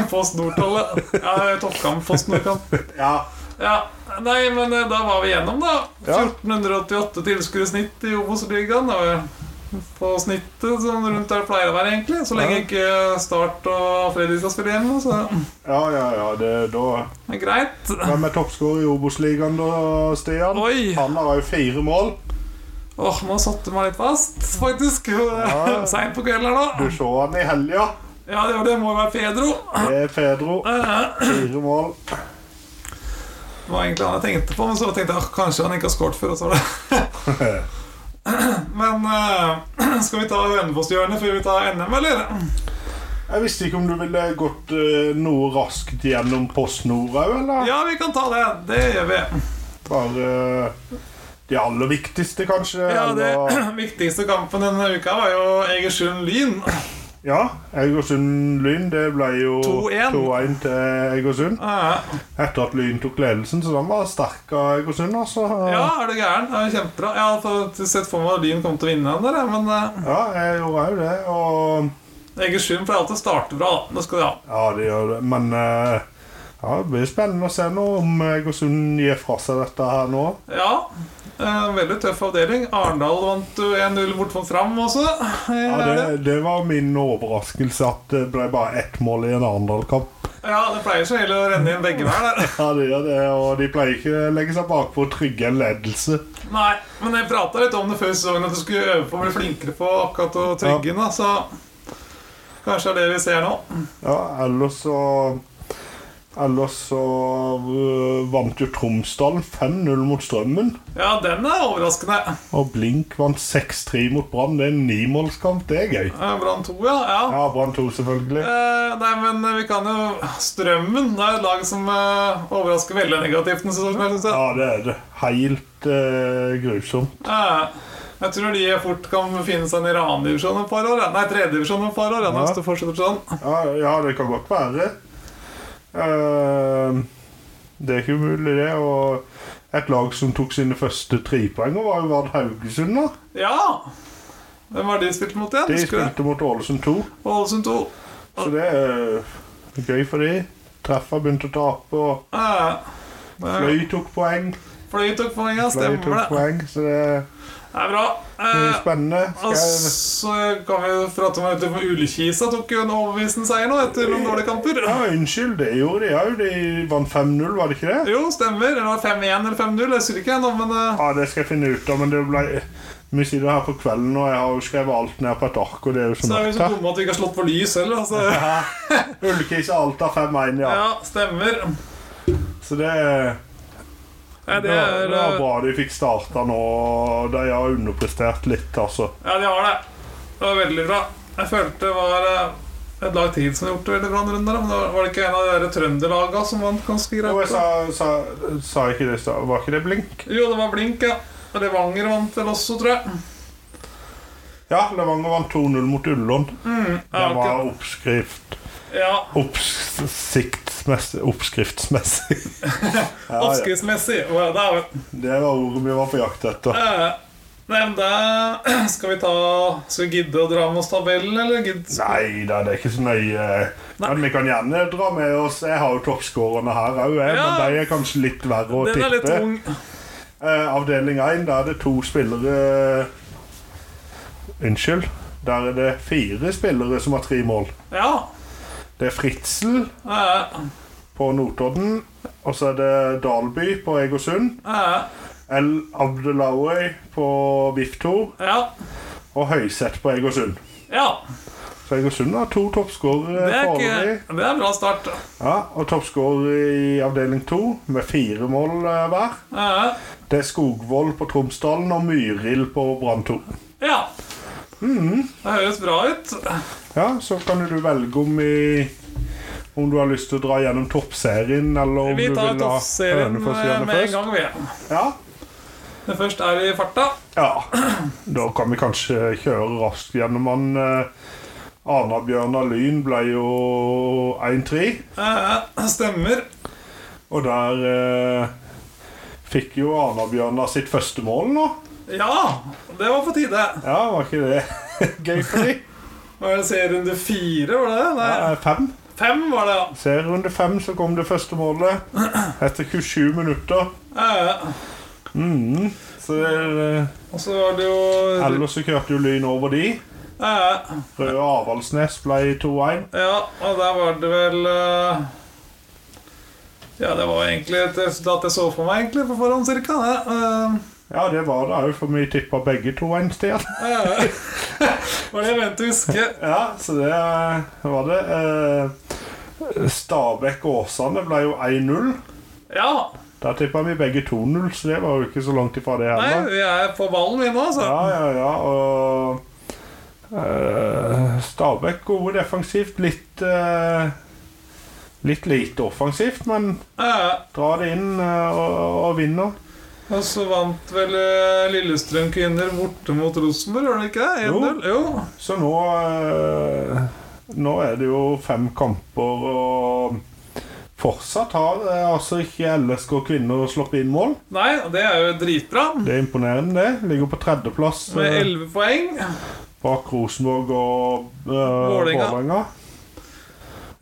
Speaker 1: [laughs] Post Nordtallet. Ja, det er toppkamp. Post Nordkamp.
Speaker 2: Ja.
Speaker 1: Ja, nei, men eh, da var vi gjennom da
Speaker 2: Ja.
Speaker 1: 1488 tilskuere i snitt i Obos-ligaen det var På snittet som rundt der pleier å være egentlig Så lenge
Speaker 2: Ja.
Speaker 1: ikke Start og Fredrikstad spiller hjemme Så
Speaker 2: Ja, ja, ja, det da
Speaker 1: det er greit
Speaker 2: Hvem er toppskårer i Obos-ligaen da, Stian?
Speaker 1: Oi,
Speaker 2: Han har jo fire mål.
Speaker 1: åh, nå satte du meg litt fast Faktisk, [laughs]
Speaker 2: Ja.
Speaker 1: sent på kvelden her
Speaker 2: Du
Speaker 1: nå
Speaker 2: så han i helga.
Speaker 1: Ja, det, var det må jo være Pedro
Speaker 2: Det er Pedro.
Speaker 1: Eh,
Speaker 2: Fire mål.
Speaker 1: Det var egentlig han jeg tenkte på Men så tenkte jeg, åh, kanskje han ikke har skårt før Og så var det [laughs] Men eh, [clears throat] skal vi ta Vennfoss-hjørnet før vi tar NM, eller?
Speaker 2: Jeg visste ikke om du ville gått eh, noe raskt gjennom Post Nord òg, eller?
Speaker 1: Ja, vi kan ta det, det gjør vi
Speaker 2: Bare eh, de aller viktigste, kanskje?
Speaker 1: Ja,
Speaker 2: eller-
Speaker 1: det [clears throat] viktigste kampen denne uka var jo Egersund Lyn. [clears throat]
Speaker 2: Ja, Egersund Lyn. Det ble jo
Speaker 1: 2-1.
Speaker 2: 2-1 til Egersund.
Speaker 1: Eh,
Speaker 2: Etter at Lyn tok ledelsen, så den var sterk av Egersund, altså.
Speaker 1: Ja, er du gæren? Det er jo Kjempebra. Jeg hadde fått- sett for meg at Lyn kom til å vinne den der, jeg, men eh,
Speaker 2: Ja, jeg gjorde òg det, og
Speaker 1: Egersund pleier alltid å starte bra. da. Det skal de ha.
Speaker 2: Ja, det gjør det, men eh, ja, Det blir spennende å se nå om Egersund gir fra seg dette her nå.
Speaker 1: Ja. eh, veldig tøff avdeling. Arendal vant jo 1-0 bort mot Fram også. Eh,
Speaker 2: Ja,
Speaker 1: Ja,
Speaker 2: det, det var min overraskelse at det ble bare ett mål i en Arendal-kamp.
Speaker 1: ja, det pleier seg heller å renne inn begge hver
Speaker 2: [laughs]
Speaker 1: der.
Speaker 2: Ja, det gjør det, og de pleier ikke å legge seg bakpå og trygge en ledelse.
Speaker 1: Nei, men jeg prata litt om det før sesongen, at du skulle øve på å bli flinkere på akkurat å trygge inn, da, så kanskje det er det vi ser nå.
Speaker 2: Ja, ellers så Ellers så øh, vant jo Tromsdalen 5-0 mot Strømmen.
Speaker 1: Ja, den er overraskende.
Speaker 2: Og Blink vant 6-3 mot Brann. Det er en nimålskamp. Det er gøy.
Speaker 1: Eh, Brann 2, ja. ja.
Speaker 2: Ja, Brann 2, selvfølgelig.
Speaker 1: Eh, nei, men eh, vi kan jo Strømmen det er et lag som eh, overrasker veldig negativt denne sesongen. her, synes jeg.
Speaker 2: Ja, det er det. Helt eh, grusomt.
Speaker 1: Eh, Jeg tror de fort kan finne seg en i annen-divisjon om et par år. ja. Nei, tredje-divisjon om et par år, ja,
Speaker 2: Ja.
Speaker 1: hvis det fortsetter sånn.
Speaker 2: Ja, ja det kan godt være. Eh, det er ikke umulig, det. Og et lag som tok sine første trepoenger, var jo Vard Haugesund. da.
Speaker 1: Ja! Hvem var de spilt mot igjen?
Speaker 2: De
Speaker 1: Husker du det?
Speaker 2: spilte mot Ålesund 2,
Speaker 1: Ålesund 2.
Speaker 2: så det er eh, gøy for de. Treffa begynte å tape,
Speaker 1: Fløy.
Speaker 2: og Fløy tok poeng.
Speaker 1: Fløy tok poeng, ja.
Speaker 2: Fløy
Speaker 1: Stemmer
Speaker 2: tok
Speaker 1: det.
Speaker 2: poeng, så det
Speaker 1: Det er bra.
Speaker 2: blir
Speaker 1: Eh,
Speaker 2: spennende.
Speaker 1: Og
Speaker 2: Skal
Speaker 1: så kan vi jo prate om at Ullekisa tok jo en overbevisende seier nå etter noen dårlige kamper.
Speaker 2: ja, unnskyld, det gjorde de òg. De vant 5-0, var det ikke det?
Speaker 1: Jo, stemmer. Det var 5-1 eller 5-0. Jeg husker ikke ennå, men eh,
Speaker 2: Ja, det skal jeg finne ut av, men det ble Vi sitter her på kvelden, og jeg har jo skrevet alt ned på et ark, og det er jo så
Speaker 1: så er vi
Speaker 2: mørkt
Speaker 1: så
Speaker 2: her.
Speaker 1: dumme at vi ikke har slått på lys heller.
Speaker 2: [laughs]
Speaker 1: Altså.
Speaker 2: Ullkis og Alta 5-1, ja.
Speaker 1: Ja, stemmer.
Speaker 2: Så det, det,
Speaker 1: Nei, det
Speaker 2: var-
Speaker 1: er
Speaker 2: det var
Speaker 1: eh,
Speaker 2: bra de fikk starta nå. De har underprestert litt, altså.
Speaker 1: eh, Ja, de har det. Det var veldig bra. Jeg følte det var eh, et lag tid som har gjort det veldig bra en runde. da. Men det var det ikke en av de der trønderlaga som vant ganske
Speaker 2: Jo,
Speaker 1: greit?
Speaker 2: jeg sa,
Speaker 1: da?
Speaker 2: sa, sa jeg ikke det i stad. Var ikke det blink?
Speaker 1: Jo, det var Blink, ja. Og Levanger vant vel også, tror jeg.
Speaker 2: Ja, Levanger vant 2-0 mot Ullern. Det
Speaker 1: Mm. Ja,
Speaker 2: var
Speaker 1: ok.
Speaker 2: oppskrift
Speaker 1: ja.
Speaker 2: Oppsiktsmessig
Speaker 1: [laughs]
Speaker 2: Oppskriftsmessig. ja, ja.
Speaker 1: Oppskriftsmessig. Wow, det er jo
Speaker 2: Det var ordet vi var på jakt etter.
Speaker 1: Eh, Nei, men da [clears throat] skal vi ta Skal vi gidde å dra med oss tabellen, eller? Gidd?
Speaker 2: Nei da, det er ikke så nøye. Men vi kan gjerne dra med oss Jeg har jo toppskårerne her òg,
Speaker 1: Ja.
Speaker 2: men de er kanskje litt verre å
Speaker 1: Den er litt
Speaker 2: tippe.
Speaker 1: tung.
Speaker 2: Eh, avdeling 1, der er det to spillere Unnskyld. Der er det fire spillere som har tre mål.
Speaker 1: Ja.
Speaker 2: Det er Fritzel
Speaker 1: Eh,
Speaker 2: på Notodden. Og så er det Dalby på Egersund.
Speaker 1: eh,
Speaker 2: El Abdelawi på VIF 2.
Speaker 1: ja.
Speaker 2: Og Høyseth på Egersund.
Speaker 1: Ja.
Speaker 2: Så Egersund har to
Speaker 1: Det
Speaker 2: toppskårere
Speaker 1: er,
Speaker 2: foreløpig.
Speaker 1: ikke, det er en bra start.
Speaker 2: Ja, og toppskårer i avdeling 2 med fire mål eh, hver.
Speaker 1: Eh,
Speaker 2: Det er Skogvold på Tromsdalen og Myrild på Brann 2.
Speaker 1: ja.
Speaker 2: Mm.
Speaker 1: Det høres bra ut.
Speaker 2: Ja, så kan du velge om i om du har lyst til å dra gjennom toppserien, eller om
Speaker 1: Vi
Speaker 2: du
Speaker 1: tar
Speaker 2: vil ha
Speaker 1: toppserien eh,
Speaker 2: Hønefoss
Speaker 1: med
Speaker 2: gjerne
Speaker 1: med en
Speaker 2: først.
Speaker 1: gang, vi.
Speaker 2: Ja.
Speaker 1: Det først er i farta.
Speaker 2: ja. Da kan vi kanskje kjøre raskt gjennom han. Eh, Arna-Bjørnar Lyn ble jo 1-3,
Speaker 1: Eh, stemmer.
Speaker 2: og der eh, fikk jo Arna-Bjørnar sitt første mål nå.
Speaker 1: Ja, det var på tide.
Speaker 2: Ja, var ikke det [laughs] gøy for de?
Speaker 1: Var det serierunde fire, var det?
Speaker 2: Ja,
Speaker 1: Nei,
Speaker 2: eh, fem.
Speaker 1: fem var det, ja.
Speaker 2: Serierunde fem, så kom det første målet etter 27 minutter.
Speaker 1: Eh,
Speaker 2: Mhm. Så det er, eh,
Speaker 1: og så var det jo
Speaker 2: Ellers så kjørte jo Lyn over de.
Speaker 1: eh,
Speaker 2: Røde Avaldsnes ble 2-1.
Speaker 1: Ja, og der var det vel eh, Ja, det var egentlig et resultat jeg så for meg egentlig på forhånd, cirka. Det.
Speaker 2: Ja, det var det òg, for vi tippa begge 2-1 steder.
Speaker 1: Eh, eh, var det jeg mente å huske.
Speaker 2: Ja, så det eh, var det. Eh, Stabæk og Åsane ble jo 1-0.
Speaker 1: Ja.
Speaker 2: Der tippa vi begge 2-0, så det var jo ikke så langt ifra det
Speaker 1: Nei,
Speaker 2: heller.
Speaker 1: vi er på ballen, vi nå, altså.
Speaker 2: Ja, ja, ja, og eh, Stabæk gode defensivt. Litt eh, Litt lite offensivt, men
Speaker 1: Eh,
Speaker 2: drar det inn eh, og, og vinner.
Speaker 1: og så vant vel eh, Lillestrøm kvinner borte mot Rosenborg, gjør de ikke det? 1-0? Jo.
Speaker 2: Så nå eh, Nå er det jo fem kamper, og fortsatt har eh, altså ikke LSK kvinner sluppet inn mål.
Speaker 1: Nei, det er jo dritbra.
Speaker 2: Det er imponerende, det. Ligger på tredjeplass
Speaker 1: Med
Speaker 2: eh,
Speaker 1: 11 poeng.
Speaker 2: bak Rosenborg og eh,
Speaker 1: Vålerenga.
Speaker 2: Vålerenga.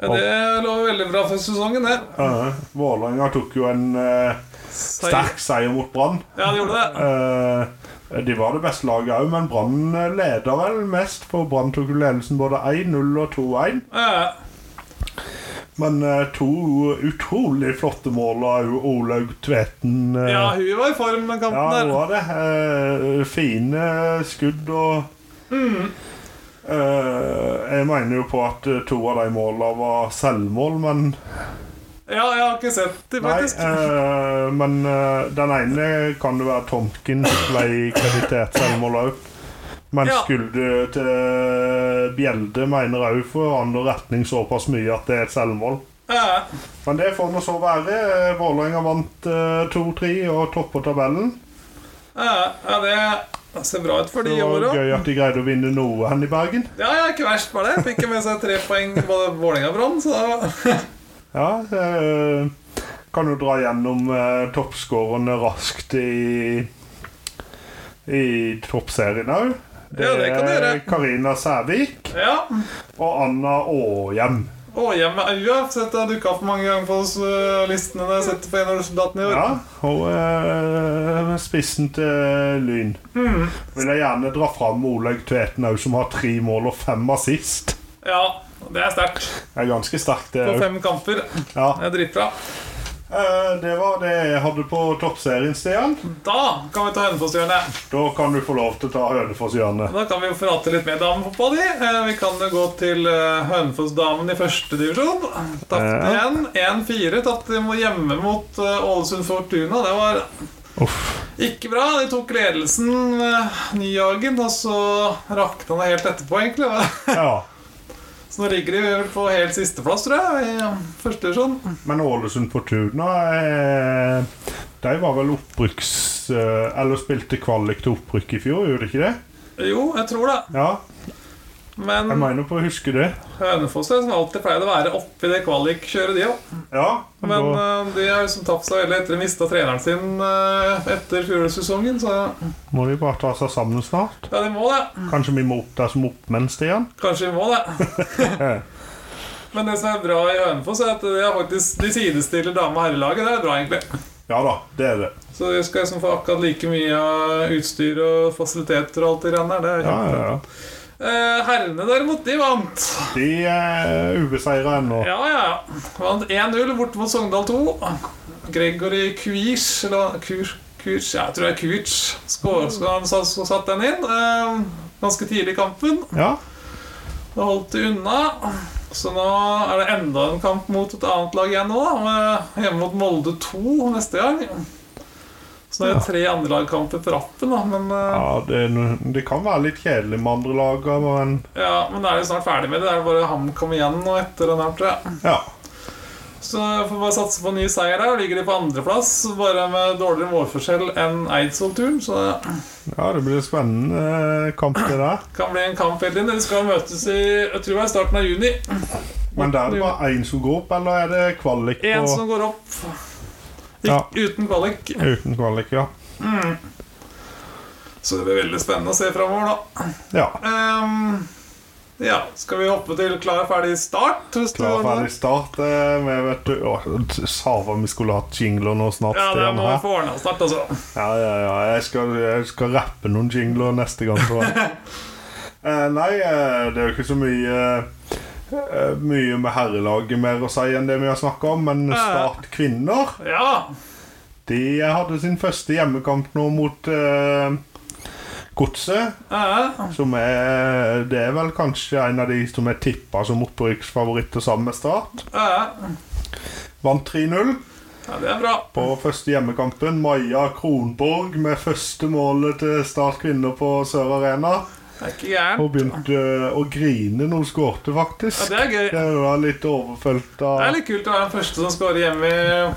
Speaker 1: Ja, det lover veldig bra for sesongen, det.
Speaker 2: Eh, Vålerenga tok jo en eh, sterk seier mot Brann.
Speaker 1: Ja, det gjorde det.
Speaker 2: Eh, de var det beste laget òg, men Brann eh, leder vel mest, for Brann tok jo ledelsen både 1-0 og 2-1.
Speaker 1: Eh,
Speaker 2: Men eh, to utrolig flotte mål av Olaug Tveten. eh,
Speaker 1: ja, hun var i form den
Speaker 2: ja,
Speaker 1: kampen
Speaker 2: hun
Speaker 1: der.
Speaker 2: var det. Eh, fine skudd og
Speaker 1: Mm.
Speaker 2: Eh, Jeg mener jo på at eh, to av de måla var selvmål, men
Speaker 1: Ja, jeg har ikke sett det,
Speaker 2: Nei,
Speaker 1: faktisk.
Speaker 2: eh, men eh, den ene kan det være Tomkin ble kreditert selvmål òg. Men
Speaker 1: Ja.
Speaker 2: skuddet til Bjelde mener òg forandrer retning såpass mye at det er et selvmål.
Speaker 1: Ja,
Speaker 2: Men det får nå så være. eh, Vålerenga vant eh, 2-3 og topper tabellen.
Speaker 1: ja, ja, det Det ser bra ut for de
Speaker 2: Det var
Speaker 1: åra.
Speaker 2: gøy at de greide å vinne noe hen i Bergen.
Speaker 1: Ja, ja, ikke verst var det. Fikk jo med seg tre poeng på Vålerenga-Brann, så da
Speaker 2: Ja, eh, kan jo dra gjennom eh, toppskårerne raskt i, i toppserien òg.
Speaker 1: Ja, det kan du gjøre.
Speaker 2: Karina Sævik
Speaker 1: Ja.
Speaker 2: og Anna Åhjem.
Speaker 1: Og hjem med Aua. Sett deg dukka opp mange ganger på oss, øh, listene der. Sett på en av resultatene i år.
Speaker 2: Ja, og eh, spissen til Lyn.
Speaker 1: Mm.
Speaker 2: Vil jeg gjerne dra fram Olaug Tveten òg, som har tre mål og fem assist.
Speaker 1: Ja, det er sterkt.
Speaker 2: Det er ganske sterkt, det
Speaker 1: På
Speaker 2: òg.
Speaker 1: fem kamper. Det
Speaker 2: Ja.
Speaker 1: er dritbra.
Speaker 2: Eh, det var det jeg hadde på toppserien, Stian.
Speaker 1: Da kan vi ta Hønefoss-hjørnet.
Speaker 2: Da kan du få lov til å ta Hønefoss-hjørnet.
Speaker 1: Da kan vi jo prate litt mer damefotball. i. Eh, Vi kan jo gå til eh, Hønefoss-damen i første divisjon. Tapte
Speaker 2: Ja.
Speaker 1: igjen. 1-4. Tapte hjemme mot eh, Ålesund Fortuna. Det var
Speaker 2: Uff.
Speaker 1: Ikke bra. De tok ledelsen eh, Nyhagen, og så rakna det helt etterpå, egentlig. da. [laughs]
Speaker 2: Ja.
Speaker 1: Så nå ligger de vel på helt sisteplass, tror jeg, i eh, første divisjon.
Speaker 2: Men Ålesund Fortuna eh, De var vel opprykks... Eh, eller spilte kvalik til opprykk i fjor, gjorde de ikke det?
Speaker 1: Jo, jeg tror det.
Speaker 2: Ja,
Speaker 1: Men
Speaker 2: jeg mener på å huske det.
Speaker 1: Hønefoss er som alltid pleide å være oppi det kvalikkjøret, de òg.
Speaker 2: Ja, men
Speaker 1: Men
Speaker 2: da
Speaker 1: eh, de har liksom tapt seg veldig etter de mista treneren sin eh, etter fjorårssesongen, så
Speaker 2: må de bare ta seg sammen snart.
Speaker 1: ja, de må det.
Speaker 2: Kanskje vi må opp der som oppmenn, Stian?
Speaker 1: Kanskje vi må det.
Speaker 2: [laughs]
Speaker 1: Men det som er bra i Hønefoss, er at de, har faktisk, de sidestiller dame- og herrelaget. Det er bra, egentlig.
Speaker 2: Ja da, det er det.
Speaker 1: Så jeg skal liksom få akkurat like mye av utstyr og fasiliteter og alt det greiene der. Det er
Speaker 2: Ja,
Speaker 1: kjempe.
Speaker 2: ja, ja.
Speaker 1: Eh, herrene derimot, de vant.
Speaker 2: De er ubeseira ennå.
Speaker 1: Ja, ja, ja. Vant 1-0 borte mot Sogndal 2. Gregory Kuish, eller Kuish, Kuish ja, jeg tror det er Kuish, skårskåren satt den inn. eh, ganske tidlig i kampen.
Speaker 2: Ja.
Speaker 1: Da holdt de unna. Så nå er det enda en kamp mot et annet lag igjen nå, da. med- Hjemme mot Molde 2 neste gang. Så nå er det tre andrelagkamper på rappen, da. Men eh,
Speaker 2: ja det, er no- det kan være litt kjedelig med andre laga, men
Speaker 1: Ja, men da er de snart ferdig med det. Det er bare HamKam igjen nå etter den her, tror jeg.
Speaker 2: ja.
Speaker 1: Så jeg får bare satse på ny seier her. Ligger de på andreplass, bare med dårligere målforskjell enn Eidsvoll-turen. Så det
Speaker 2: Ja, det blir spennende eh, kamp, det der.
Speaker 1: kan bli en kamp helt inn. De skal møtes i jeg tror det er starten av juni.
Speaker 2: Men der er det bare én som går opp, eller er det kvalik?
Speaker 1: Én
Speaker 2: på-
Speaker 1: som går opp. Ik
Speaker 2: Ja.
Speaker 1: Uten kvalik.
Speaker 2: Uten kvalik, ja.
Speaker 1: Så det blir veldig spennende å se framover, da.
Speaker 2: Ja.
Speaker 1: Ehm, ja, skal vi hoppe til klar, ferdig, start? hvis du-
Speaker 2: Klar, ferdig, start. eh, Vi vet du Å, Savan, vi skulle hatt jingler nå snart.
Speaker 1: Ja, det
Speaker 2: Stian,
Speaker 1: må vi
Speaker 2: her.
Speaker 1: få ordna snart, altså.
Speaker 2: Ja, ja, ja. Jeg skal, jeg skal rappe noen jingler neste gang. tror jeg.
Speaker 1: [laughs]
Speaker 2: Eh, nei, eh, det er jo ikke så mye eh, Mye med herrelaget mer å si enn det vi har snakka om, men Start kvinner
Speaker 1: Ja.
Speaker 2: De hadde sin første hjemmekamp nå mot eh, Godset.
Speaker 1: ja.
Speaker 2: Som er Det er vel kanskje en av de som er tippa som opprykksfavoritter sammen med Start.
Speaker 1: ja.
Speaker 2: Vant 3-0.
Speaker 1: ja, det er bra.
Speaker 2: På første hjemmekampen, Maja Kronborg med første målet til Start kvinner på Sør Arena.
Speaker 1: Det er ikke gærent.
Speaker 2: Hun begynte eh, å grine når hun skårte,
Speaker 1: Ja,
Speaker 2: faktisk.
Speaker 1: det er gøy.
Speaker 2: Det er jo da litt overfølt
Speaker 1: Det er
Speaker 2: av
Speaker 1: litt kult å være den første som scorer hjemme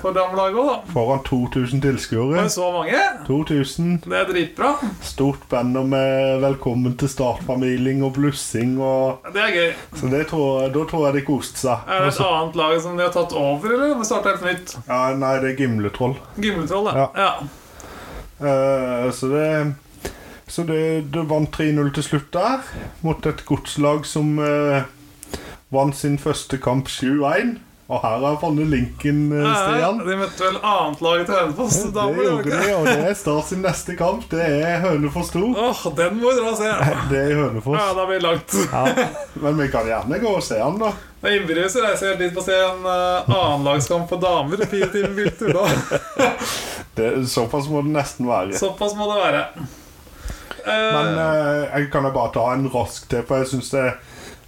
Speaker 1: for damelaget òg, da.
Speaker 2: Foran 2000 tilskuere.
Speaker 1: Med så mange.
Speaker 2: 2000.
Speaker 1: Det er dritbra.
Speaker 2: Stort banner med 'Velkommen til Start-familien' og blussing og
Speaker 1: Det er gøy.
Speaker 2: Så det tror jeg, da tror jeg de koste seg.
Speaker 1: Er det
Speaker 2: Og
Speaker 1: et
Speaker 2: så-
Speaker 1: annet lag som de har tatt over, eller? Vi starter helt nytt.
Speaker 2: Ja, nei, det er Gimletroll.
Speaker 1: Gimletroll, da. Ja.
Speaker 2: Eh, så det Så det, det vant 3-0 til slutt der, mot et godslag som eh, vant sin første kamp 7-1. Og her har jeg funnet linken, eh,
Speaker 1: Ja,
Speaker 2: Stian.
Speaker 1: De møtte vel annetlaget til Hønefoss.
Speaker 2: Det
Speaker 1: damer, gjorde
Speaker 2: gjorde
Speaker 1: de
Speaker 2: de,
Speaker 1: ikke?
Speaker 2: og det er Start sin neste kamp. Det er Hønefoss 2.
Speaker 1: Åh, den må vi dra og se.
Speaker 2: Det er i
Speaker 1: Ja,
Speaker 2: Hønefoss.
Speaker 1: da blir det langt.
Speaker 2: Ja. Men vi kan gjerne gå og se han, da.
Speaker 1: Det er innbyrdes å reise helt dit på å se en uh, annenlagskamp for damer. Fire timer biltur, da.
Speaker 2: Det, såpass må det nesten være.
Speaker 1: Såpass må det være. Eh,
Speaker 2: Men eh, jeg kan jo bare ta en rask til, for jeg syns det,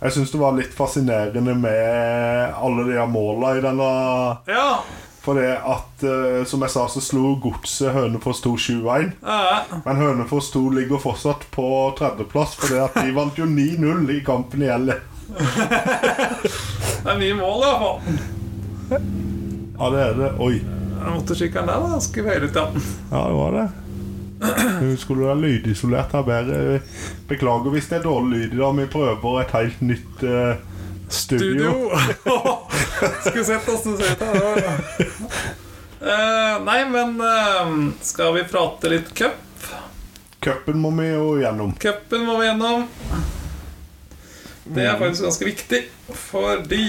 Speaker 2: jeg synes det var litt fascinerende med alle de her måla i denne
Speaker 1: ja.
Speaker 2: For det at, eh, som jeg sa, så slo godset Hønefoss 2-7-1.
Speaker 1: ja.
Speaker 2: Men Hønefoss 2 ligger fortsatt på tredjeplass, for det at de vant jo 9-0 i kampen i L. E.
Speaker 1: Det er mye mål, i hvert fall.
Speaker 2: Ja, det er det. Oi.
Speaker 1: Den Motorsykkelen der var ganske høylytt, ja.
Speaker 2: Ja, det var det. Hun skulle være lydisolert her bedre. Beklager hvis det er dårlig lyd i dag. Vi prøver et helt nytt eh, studio.
Speaker 1: Studio! [laughs] Skulle sett oss du ser ut her. Eh, nei, men eh, skal vi prate litt cup?
Speaker 2: Cupen må vi jo gjennom.
Speaker 1: Cupen må vi gjennom. Det er faktisk ganske viktig, fordi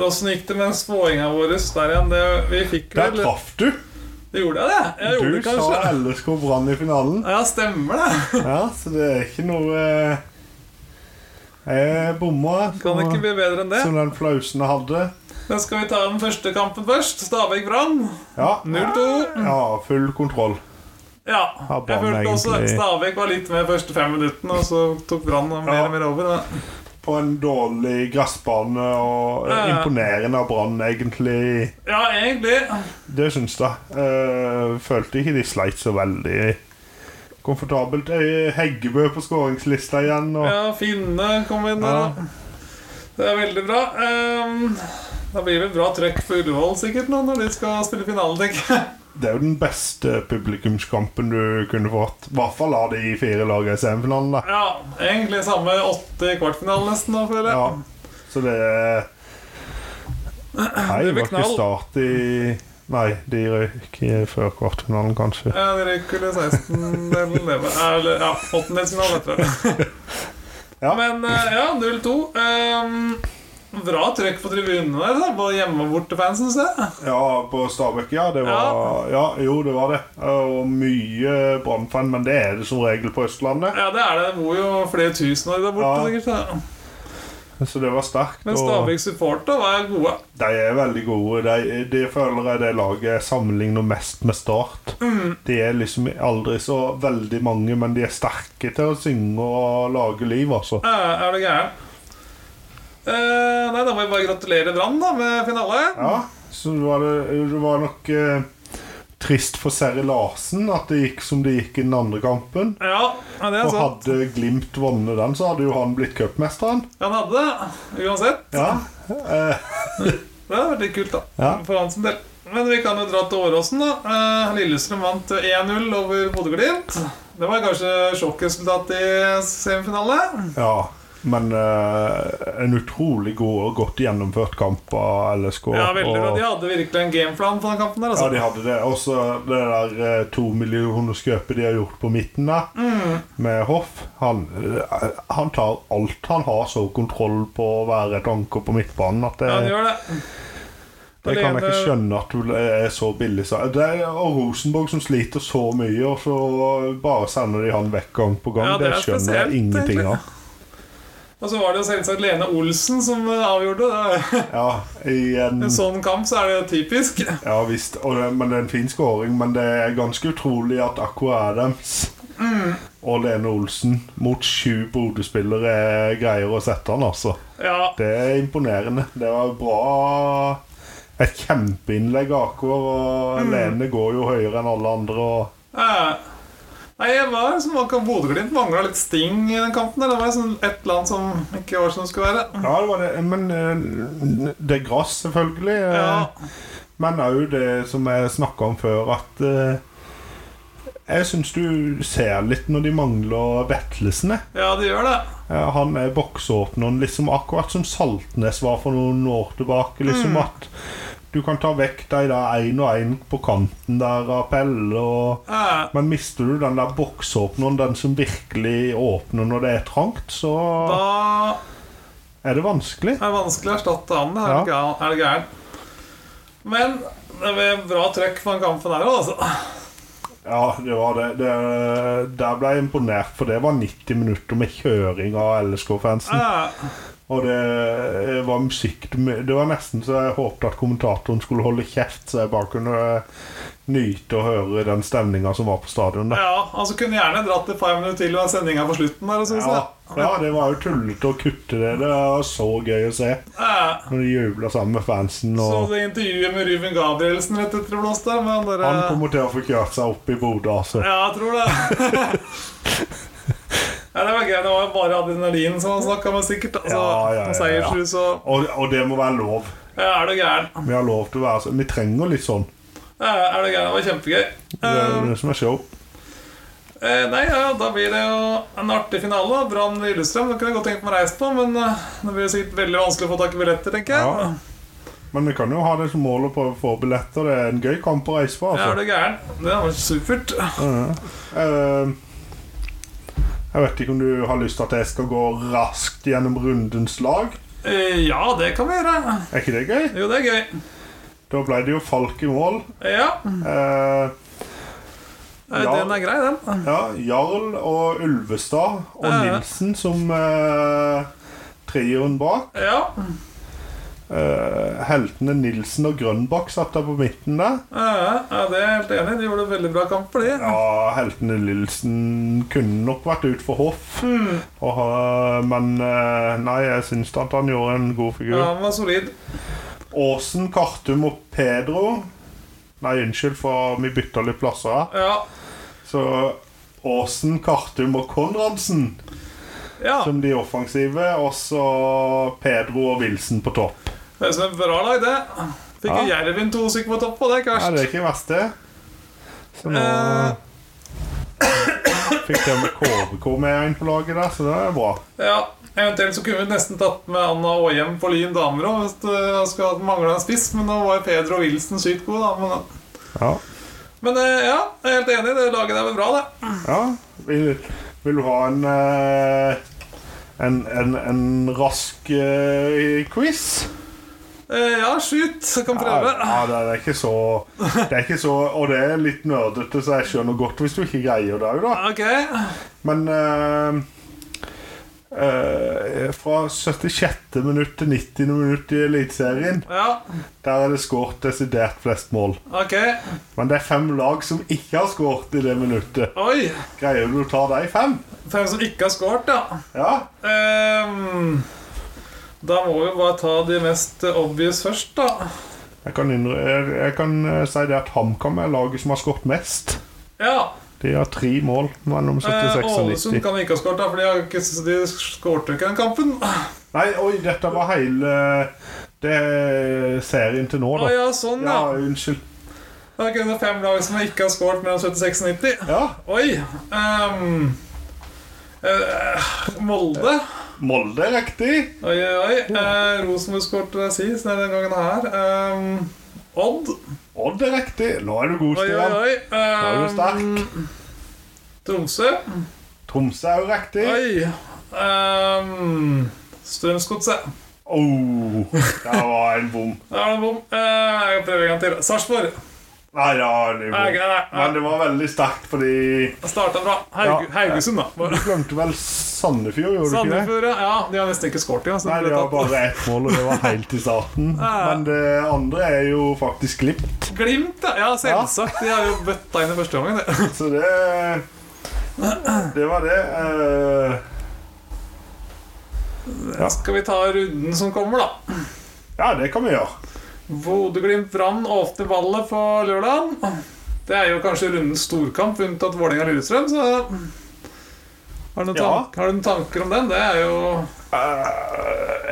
Speaker 1: Åssen gikk det med spåinga vår der igjen? Det, vi fikk
Speaker 2: Der
Speaker 1: vel
Speaker 2: traff du!
Speaker 1: Det gjorde jeg, det. Jeg gjorde
Speaker 2: Du
Speaker 1: det
Speaker 2: sa
Speaker 1: kanskje.
Speaker 2: LSK Brann i finalen.
Speaker 1: Ja, stemmer det.
Speaker 2: Ja, så det er ikke noe eh, Jeg bomma.
Speaker 1: Kan det ikke bli bedre enn det.
Speaker 2: Som den flausen jeg hadde.
Speaker 1: Men skal vi ta den første kampen først? Stabæk-Brann
Speaker 2: Ja.
Speaker 1: 0-2.
Speaker 2: ja, full kontroll.
Speaker 1: Ja.
Speaker 2: Ja,
Speaker 1: Jeg
Speaker 2: Brann
Speaker 1: følte også at
Speaker 2: egentlig-
Speaker 1: Stabæk var litt med de første fem minuttene, og så tok Brann mer
Speaker 2: Ja.
Speaker 1: og mer over. da.
Speaker 2: På en dårlig gressbane og eh,
Speaker 1: Ja, ja.
Speaker 2: imponerende av Brann, egentlig.
Speaker 1: Ja, egentlig.
Speaker 2: Det syns jeg. Eh, følte ikke de sleit så veldig komfortabelt. Eh, Heggebø på skåringslista igjen. Og,
Speaker 1: Ja, Finne kom inn der,
Speaker 2: Ja.
Speaker 1: da. Det er veldig bra. Ehm, da blir det bra trøkk for Ullevål sikkert nå når de skal spille finalen, tenker jeg.
Speaker 2: Det er jo den beste publikumskampen du kunne fått. I hvert fall av de fire lagene i semifinalen. Da.
Speaker 1: Ja, egentlig samme åtte i kvartfinalen nesten nå, føler jeg.
Speaker 2: Ja, så det Nei,
Speaker 1: blir
Speaker 2: det var ikke
Speaker 1: knall.
Speaker 2: start i Nei, de røyk i- før kvartfinalen, kanskje.
Speaker 1: Ja, det røyker det 16 eller eller, Ja, åttendelsfinale, tror jeg.
Speaker 2: [laughs] Ja.
Speaker 1: Men eh, ja, 0-2. Ehm, bra trøkk på tribunene der, da, både hjemme- og bortefans, syns jeg.
Speaker 2: Ja, på Stabæk, ja. Det var, ja. Jo, det var det. Og mye Brann-fan, men det er det som regel på Østlandet.
Speaker 1: Ja, det er det. Det bor jo flere tusen år der borte,
Speaker 2: Ja.
Speaker 1: sikkert. Da.
Speaker 2: Så det var sterkt.
Speaker 1: Men
Speaker 2: og-
Speaker 1: Stabæk supporter var gode.
Speaker 2: De er veldig gode. De, de føler jeg det laget jeg sammenligner mest med Start. De er liksom aldri så veldig mange, men de er sterke til å synge og lage liv, altså.
Speaker 1: Eh, Er du gæren? Eh, nei, da må vi bare gratulere Brann da med finale.
Speaker 2: Ja, så var det, det var nok eh, trist for Seri Larsen at det gikk som det gikk i den andre kampen.
Speaker 1: Ja, ja det er
Speaker 2: Og
Speaker 1: sant.
Speaker 2: hadde Glimt vunnet den, så hadde jo han blitt cupmesteren.
Speaker 1: Han hadde det, uansett.
Speaker 2: Ja. Eh,
Speaker 1: Det hadde vært litt kult, da.
Speaker 2: Ja.
Speaker 1: For hans del. Men vi kan jo dra til Åråsen, da. Eh, Lillestrøm vant 1-0 over Bodø-Glimt. Det var kanskje sjokkresultat i semifinale.
Speaker 2: ja. Men eh, en utrolig god og godt gjennomført kamp av LSK.
Speaker 1: Ja, veldig bra.
Speaker 2: og-
Speaker 1: De hadde virkelig en gameplan på den kampen der,
Speaker 2: Ja,
Speaker 1: altså.
Speaker 2: de hadde det. Og så det der eh, to millioner skøpet de har gjort på midten der,
Speaker 1: Mm.
Speaker 2: med Hoff. Han, eh, han tar alt. Han har så kontroll på å være et anker på midtbanen at det,
Speaker 1: Ja, de gjør det.
Speaker 2: det kan jeg ikke
Speaker 1: alene-
Speaker 2: skjønne at det er så billig. Så. Det er, og Rosenborg som sliter så mye, og så bare sender de han vekk gang på gang.
Speaker 1: Ja, det
Speaker 2: det,
Speaker 1: er
Speaker 2: skjønner
Speaker 1: spesielt,
Speaker 2: jeg ingenting
Speaker 1: egentlig.
Speaker 2: av.
Speaker 1: Og så var det jo selvsagt Lene Olsen som eh, avgjorde. Det.
Speaker 2: Ja, i en,
Speaker 1: En sånn kamp så er det typisk.
Speaker 2: ja visst. Og det, men det er en fin skåring, men det er ganske utrolig at Aqua Adams
Speaker 1: Mm.
Speaker 2: og Lene Olsen mot sju Bodø-spillere greier å sette han, altså.
Speaker 1: Ja,
Speaker 2: Det er imponerende. Det var bra Et kjempeinnlegg av Akvar, og
Speaker 1: Mm.
Speaker 2: Lene går jo høyere enn alle andre. Og
Speaker 1: Eh, Nei, jeg var som akkurat Bodø-Glimt mangla litt sting i den kampen. Der. Det var sånn et eller annet som ikke var som det skulle være.
Speaker 2: ja, det var det. Men eh, det er gress, selvfølgelig. eh,
Speaker 1: Ja,
Speaker 2: Men òg det som jeg snakka om før, at eh, jeg syns du ser litt når de mangler Vetlesene.
Speaker 1: ja det gjør det.
Speaker 2: Ja, Han er boksåpneren, liksom akkurat som Saltnes var for noen år tilbake. liksom at Du kan ta vekk de der én og én på kanten der av Pelle og
Speaker 1: Eh,
Speaker 2: Men mister du den der boksåpneren, den som virkelig åpner når det er trangt, så
Speaker 1: Da
Speaker 2: er det vanskelig.
Speaker 1: er det vanskelig å erstatte han. Er det gal- er det gærent? Men det var bra trøkk på den kampen der òg, altså.
Speaker 2: [laughs] Ja, det var det. det. Der ble jeg imponert, for det var 90 minutter med kjøring av LSK-fansen.
Speaker 1: Eh,
Speaker 2: Og det eh, var musikk Det var nesten så jeg håpte at kommentatoren skulle holde kjeft, så jeg bare kunne eh, nyte og høre den stemninga som var på stadion. Da.
Speaker 1: Ja, altså Kunne gjerne dratt det et par minutter til og sendinga på slutten der. Synes
Speaker 2: Ja,
Speaker 1: jeg.
Speaker 2: ja, det var jo tullete å kutte det. Det var så gøy å se
Speaker 1: Eh,
Speaker 2: når de jubla sammen med fansen.
Speaker 1: så
Speaker 2: Og
Speaker 1: det intervjuet med Ruben Gabrielsen rett etter det blåste der, men dere
Speaker 2: han kommer til å få kjørt seg opp i Bodø, altså.
Speaker 1: Ja, jeg tror det.
Speaker 2: [laughs]
Speaker 1: ja, det var gøy. Det var jo bare adrenalin som han snakka med, sikkert. Altså,
Speaker 2: Ja, ja, ja, ja.
Speaker 1: og Seiersrus og
Speaker 2: Og, og det må være lov.
Speaker 1: ja, Er du gæren?
Speaker 2: Vi har lov til å være sånn. Vi trenger litt sånn.
Speaker 1: Er er det gærent? Det var kjempegøy.
Speaker 2: Det er jo
Speaker 1: Eh,
Speaker 2: det som er show.
Speaker 1: eh, nei, ja, da blir det jo en artig finale. da. Brann ved Lillestrøm. Det kunne jeg godt tenkt meg å reise på, men eh, det blir sikkert veldig vanskelig å få tak i billetter, tenker jeg.
Speaker 2: Ja. Men vi kan jo ha det som mål å prøve å få billetter. Det er en gøy kamp å reise på.
Speaker 1: Ja, er
Speaker 2: Altså.
Speaker 1: du gæren? Det var supert.
Speaker 2: Eh, jeg vet ikke om du har lyst til at jeg skal gå raskt gjennom rundens lag.
Speaker 1: Eh, Ja, det kan vi gjøre.
Speaker 2: Er ikke det gøy?
Speaker 1: Jo, det er gøy.
Speaker 2: Da ble det jo Falk i mål.
Speaker 1: Ja,
Speaker 2: Eh,
Speaker 1: eh,
Speaker 2: Ja.
Speaker 1: den er grei, den.
Speaker 2: ja, Jarl og Ulvestad og
Speaker 1: Ja, ja.
Speaker 2: Nilsen som eh, trioen bak.
Speaker 1: Ja,
Speaker 2: Eh, heltene Nilsen og Grønbakk satt der på midten der.
Speaker 1: eh, ja, det er jeg helt enig i. De gjorde en veldig bra kamp for de.
Speaker 2: Ja, heltene Nilsen kunne nok vært ut for hoff,
Speaker 1: Mm.
Speaker 2: og, ha- men eh, nei, jeg syns at han gjorde en god figur.
Speaker 1: Ja, han var solid.
Speaker 2: Åsen, Kartum og Pedro Nei, unnskyld, for vi bytta litt plasser her.
Speaker 1: Ja,
Speaker 2: Så Åsen, Kartum og Konradsen
Speaker 1: ja.
Speaker 2: som de offensive, og så Pedro og Wilson på topp.
Speaker 1: det er som et bra lag, det. Fikk jo Jervin to stykker på topp, og det er ikke
Speaker 2: Ja, det
Speaker 1: verst.
Speaker 2: er ikke verst, det. Så nå
Speaker 1: Eh.
Speaker 2: fikk de med KBK med inn på laget der, så det er bra.
Speaker 1: Ja, Eventuelt så kunne vi nesten tatt med Anna Aahjem på Lyn damer òg, hvis det skulle mangla en spiss, men nå var jo Pedro Wilson sykt god, da. Men,
Speaker 2: Ja.
Speaker 1: men eh, ja, jeg er helt enig. Det laget der var bra, det.
Speaker 2: ja. Vil, vil du ha en eh, en, en, en rask eh, quiz?
Speaker 1: Eh, Ja, skyt. så Kan
Speaker 2: Ja,
Speaker 1: prøve.
Speaker 2: ja, det er ikke så Det er ikke så Og det er litt nerdete, så jeg skjønner godt hvis du ikke greier det òg, da.
Speaker 1: Ok.
Speaker 2: Men eh, eh, fra 76. minutt til 90. minutt i Eliteserien
Speaker 1: Ja,
Speaker 2: Der er det skåret desidert flest mål.
Speaker 1: ok.
Speaker 2: Men det er fem lag som ikke har skåret i det minuttet.
Speaker 1: Oi.
Speaker 2: Greier du å ta de fem?
Speaker 1: Fem som ikke har skåret, ja.
Speaker 2: Ja.
Speaker 1: Ehm, da må vi bare ta de mest obvious først, da.
Speaker 2: Jeg kan, innrø jeg- jeg kan eh, si det at HamKam er laget som har skåret mest.
Speaker 1: Ja.
Speaker 2: De har tre mål mellom
Speaker 1: eh,
Speaker 2: 76 og
Speaker 1: Ålesund
Speaker 2: 90.
Speaker 1: kan ikke ha skåret, da, for de, har ikke- de skårte jo ikke den kampen.
Speaker 2: Nei, oi, dette var hele Det er serien til nå,
Speaker 1: Å
Speaker 2: da.
Speaker 1: ja, sånn,
Speaker 2: Ja,
Speaker 1: ja.
Speaker 2: unnskyld.
Speaker 1: Da er det kun fem lag som ikke har skåret mellom 76 og 90.
Speaker 2: Ja,
Speaker 1: Oi. ehm, eh, Molde.
Speaker 2: Molde er riktig.
Speaker 1: Oi, oi, oi. Eh, Rosenborg skårte sist denne gangen her. Ehm, Odd.
Speaker 2: Odd er riktig. Nå er du god,
Speaker 1: Oi, oi,
Speaker 2: Stian.
Speaker 1: oi.
Speaker 2: er du sterk.
Speaker 1: Ehm, Tromsø.
Speaker 2: Tromsø er jo riktig.
Speaker 1: Oi. Um, Strømsgodset.
Speaker 2: Oh, der var en bom.
Speaker 1: Der var det en bom. Eh, jeg prøver en gang til. Sarpsborg.
Speaker 2: Nei, ja, det er
Speaker 1: Nei,
Speaker 2: bom.
Speaker 1: nei, nei.
Speaker 2: Men det var veldig sterkt, fordi
Speaker 1: Starta bra. Haug
Speaker 2: Ja.
Speaker 1: Haugesund, da.
Speaker 2: Du
Speaker 1: Bare.
Speaker 2: glemte vel Sandefjord, gjorde du ikke det?
Speaker 1: Sandefjord, ja. ja. De har nesten ikke skåret igjen. så
Speaker 2: Nei,
Speaker 1: det ble
Speaker 2: de har
Speaker 1: tatt.
Speaker 2: bare ett mål, og det var helt i starten.
Speaker 1: ja.
Speaker 2: Men det andre er jo faktisk Glimt,
Speaker 1: Glimt, ja. ja. Selvsagt. De har jo bøtta inn i første omgang. det.
Speaker 2: så det Det var det. Eh, Ja.
Speaker 1: Skal vi ta runden som kommer, da?
Speaker 2: Ja, det kan vi gjøre.
Speaker 1: Bodø-Glimt-Brann åpner ballet på lørdag. Det er jo kanskje rundens storkamp, unntatt Vålerenga-Lillestrøm, så har du, noen
Speaker 2: Ja.
Speaker 1: tank- har du noen tanker om den? Det er jo
Speaker 2: Eh,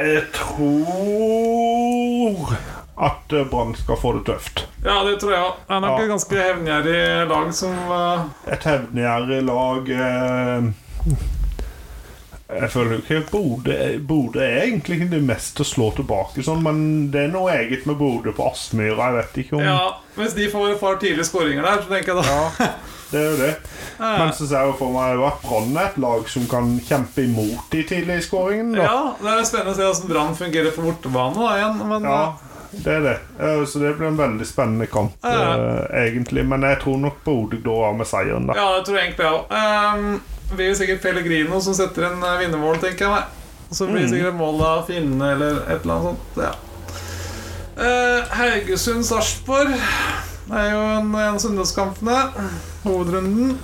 Speaker 2: Jeg tror at eh, Brann skal få det tøft.
Speaker 1: Ja, det tror jeg òg. Det er nok
Speaker 2: Ja.
Speaker 1: et ganske hevngjerrig lag som eh,
Speaker 2: Et hevngjerrig lag eh, Jeg føler jo ikke Bodø Bodø er egentlig ikke det mest til å slå tilbake sånn, men det er noe eget med Bodø på Aspmyra. Jeg vet ikke om
Speaker 1: Ja, hvis de får et par tidlige skåringer der, så tenker jeg da
Speaker 2: Ja, det er jo det. Men så ser jeg jo for meg at Brann er et lag som kan kjempe imot de tidlige skåringene. da.
Speaker 1: Ja, det er spennende å se hvordan Brann fungerer på bortebane da igjen, men
Speaker 2: Ja,
Speaker 1: ja.
Speaker 2: det er det. Eh, Så det blir en veldig spennende kamp,
Speaker 1: Ja.
Speaker 2: eh, egentlig. Men jeg tror nok Bodø går av med seieren, da.
Speaker 1: det tror jeg egentlig jeg òg. Ehm, blir jo sikkert Pellegrino som setter en eh, vinnermål, tenker jeg meg. Så blir det sikkert et mål av Finne eller et eller annet sånt. Ja. Eh, Haugesund-Sarpsborg er jo en, en av søndagskampene. Hovedrunden.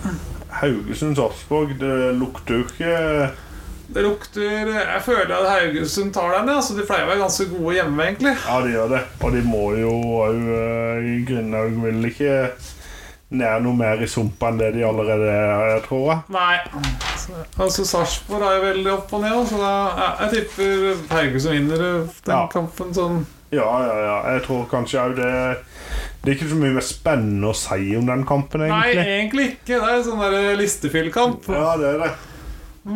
Speaker 2: Haugesund-Sarpsborg, det lukter jo ikke
Speaker 1: Det lukter Jeg føler at Haugesund tar den, ja. Så de pleier å være ganske gode hjemme, egentlig.
Speaker 2: Ja, de gjør det. Og de må jo òg Grindhaug vil ikke ned noe mer i sumpa enn det de allerede er, jeg tror jeg.
Speaker 1: Nei. Altså Sarpsborg er jo veldig opp og ned, så da, ja, jeg tipper Haugesund vinner eh, den
Speaker 2: Ja.
Speaker 1: kampen sånn.
Speaker 2: Ja, ja, ja. Jeg tror kanskje òg det Det er ikke så mye mer spennende å si om den kampen,
Speaker 1: Nei,
Speaker 2: egentlig.
Speaker 1: egentlig ikke. Det er sånn der listefyllkamp.
Speaker 2: Ja, det er det.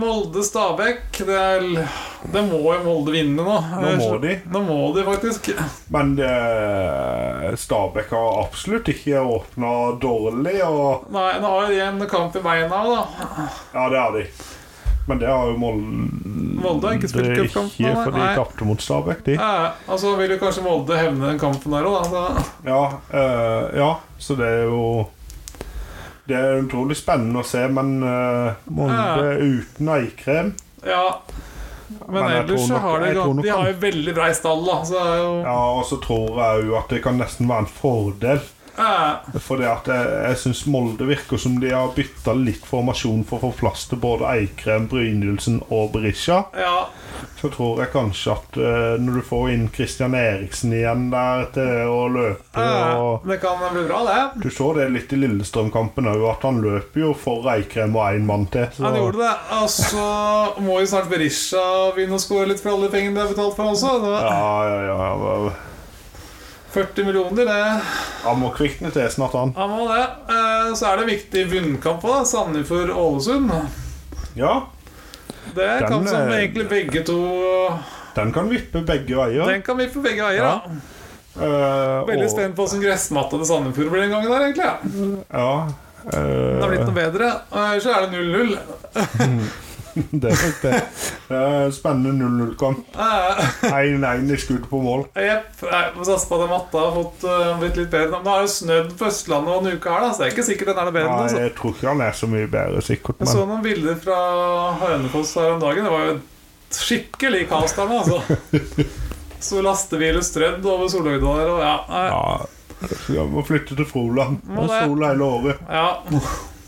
Speaker 1: Molde-Stabæk. Det, er l- det må jo Molde vinne nå.
Speaker 2: Nå må de.
Speaker 1: Nå må de faktisk.
Speaker 2: Men eh, Stabæk har absolutt ikke åpna dårlig, og
Speaker 1: Nei, nå har jo de en kamp i beina, da.
Speaker 2: Ja, det har de. Men det har jo Molde
Speaker 1: Molde har ikke spilt
Speaker 2: Det er
Speaker 1: cupkamp
Speaker 2: Ikke
Speaker 1: nå,
Speaker 2: for de
Speaker 1: nei.
Speaker 2: tapte mot Stabæk, de.
Speaker 1: Ja, og så vil jo kanskje Molde hevne den kampen der òg, da. Altså, Så-
Speaker 2: Ja, eh, ja, så det er jo Det er utrolig spennende å se, men eh, Molde uten eikrem
Speaker 1: Ja. Men,
Speaker 2: Men jeg
Speaker 1: ellers
Speaker 2: tror
Speaker 1: så
Speaker 2: nok-
Speaker 1: har de
Speaker 2: jeg tror
Speaker 1: gått
Speaker 2: nok
Speaker 1: De har
Speaker 2: han-
Speaker 1: jo veldig brei stall, da. Så det er jo
Speaker 2: Ja, og så tror jeg jo at det kan nesten være en fordel.
Speaker 1: Ja.
Speaker 2: For at jeg, jeg syns Molde virker som de har bytta litt formasjon for å få plass til både Eikrem, Brynildsen og Berisha.
Speaker 1: ja.
Speaker 2: Så tror jeg kanskje at eh, når du får inn Christian Eriksen igjen der til å løpe
Speaker 1: Ja,
Speaker 2: og
Speaker 1: Det kan bli bra, det.
Speaker 2: Du så det litt i Lillestrøm-kampen òg, at han løper jo for Eikrem og én mann til. Så
Speaker 1: Han gjorde det. Og så må jo snart Berisha begynne å score litt for alle pengene de har betalt for også. Det var
Speaker 2: Ja, ja, ja. ja.
Speaker 1: 40 millioner, det.
Speaker 2: Han må kvikne til snart, han.
Speaker 1: Han må det. Eh, Så er det viktig bunnkamp òg. Sandefjord-Ålesund.
Speaker 2: Ja,
Speaker 1: Det er
Speaker 2: Den,
Speaker 1: kamp som
Speaker 2: eh,
Speaker 1: egentlig begge to
Speaker 2: den kan vippe begge veier.
Speaker 1: Den kan vi på begge veier,
Speaker 2: Ja.
Speaker 1: da.
Speaker 2: Eh,
Speaker 1: Veldig
Speaker 2: og-
Speaker 1: spent på hvordan gressmatta til Sandefjord blir den gangen der, egentlig. ja.
Speaker 2: Ja.
Speaker 1: Det har blitt
Speaker 2: eh,
Speaker 1: noe bedre. Eh, Så er det 0-0.
Speaker 2: det er nok det.
Speaker 1: [laughs]
Speaker 2: Det er en Spennende 0-0-kamp.
Speaker 1: Eh,
Speaker 2: 1-1 i skudd på mål.
Speaker 1: Jepp. Jeg må satse på at matta har fått, eh, blitt litt bedre. Men det har jo snødd på Østlandet og en uke her, da, så det er ikke sikkert den er det bedre.
Speaker 2: Nei,
Speaker 1: Altså.
Speaker 2: jeg tror ikke han er så mye bedre, sikkert.
Speaker 1: Jeg så
Speaker 2: Men
Speaker 1: noen bilder fra Hønefoss her om dagen. Det var jo et skikkelig kaos der nå, altså.
Speaker 2: [laughs]
Speaker 1: Så lastebiler strødd over Solhøgda der, og ja. nei,
Speaker 2: ja, jeg må flytte til Froland.
Speaker 1: Må
Speaker 2: Og
Speaker 1: det.
Speaker 2: sol hele året.
Speaker 1: ja.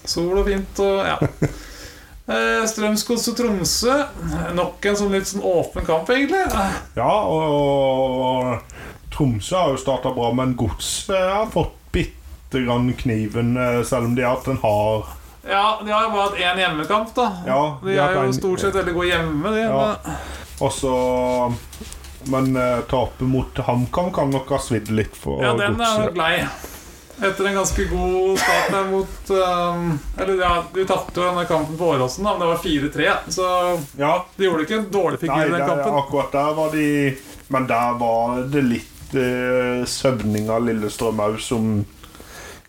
Speaker 1: Sol og fint og ja. Eh, Strømsgodset Tromsø. Nok en sånn litt sånn åpen kamp, egentlig. Eh,
Speaker 2: Ja, og, og Tromsø har jo starta bra, men Gods eh, har fått bitte grann kniven, eh, selv om de har hatt en hard
Speaker 1: Ja, de har jo bare hatt én hjemmekamp, da.
Speaker 2: Ja,
Speaker 1: de er
Speaker 2: har
Speaker 1: jo
Speaker 2: en-
Speaker 1: stort sett veldig gode hjemme, de.
Speaker 2: Ja.
Speaker 1: men-
Speaker 2: Og så Men eh, tapet mot HamKam kan nok ha svidd litt for
Speaker 1: Ja, den er
Speaker 2: Godset.
Speaker 1: nok lei. Etter en ganske god start der mot ehm, Eller ja, de tapte jo denne kampen på Åråsen, da, men det var 4-3. Så
Speaker 2: Ja,
Speaker 1: de gjorde ikke en dårlig figur
Speaker 2: Nei,
Speaker 1: i den
Speaker 2: der,
Speaker 1: kampen.
Speaker 2: akkurat der var de Men der var det litt eh, søvning av Lillestrøm òg som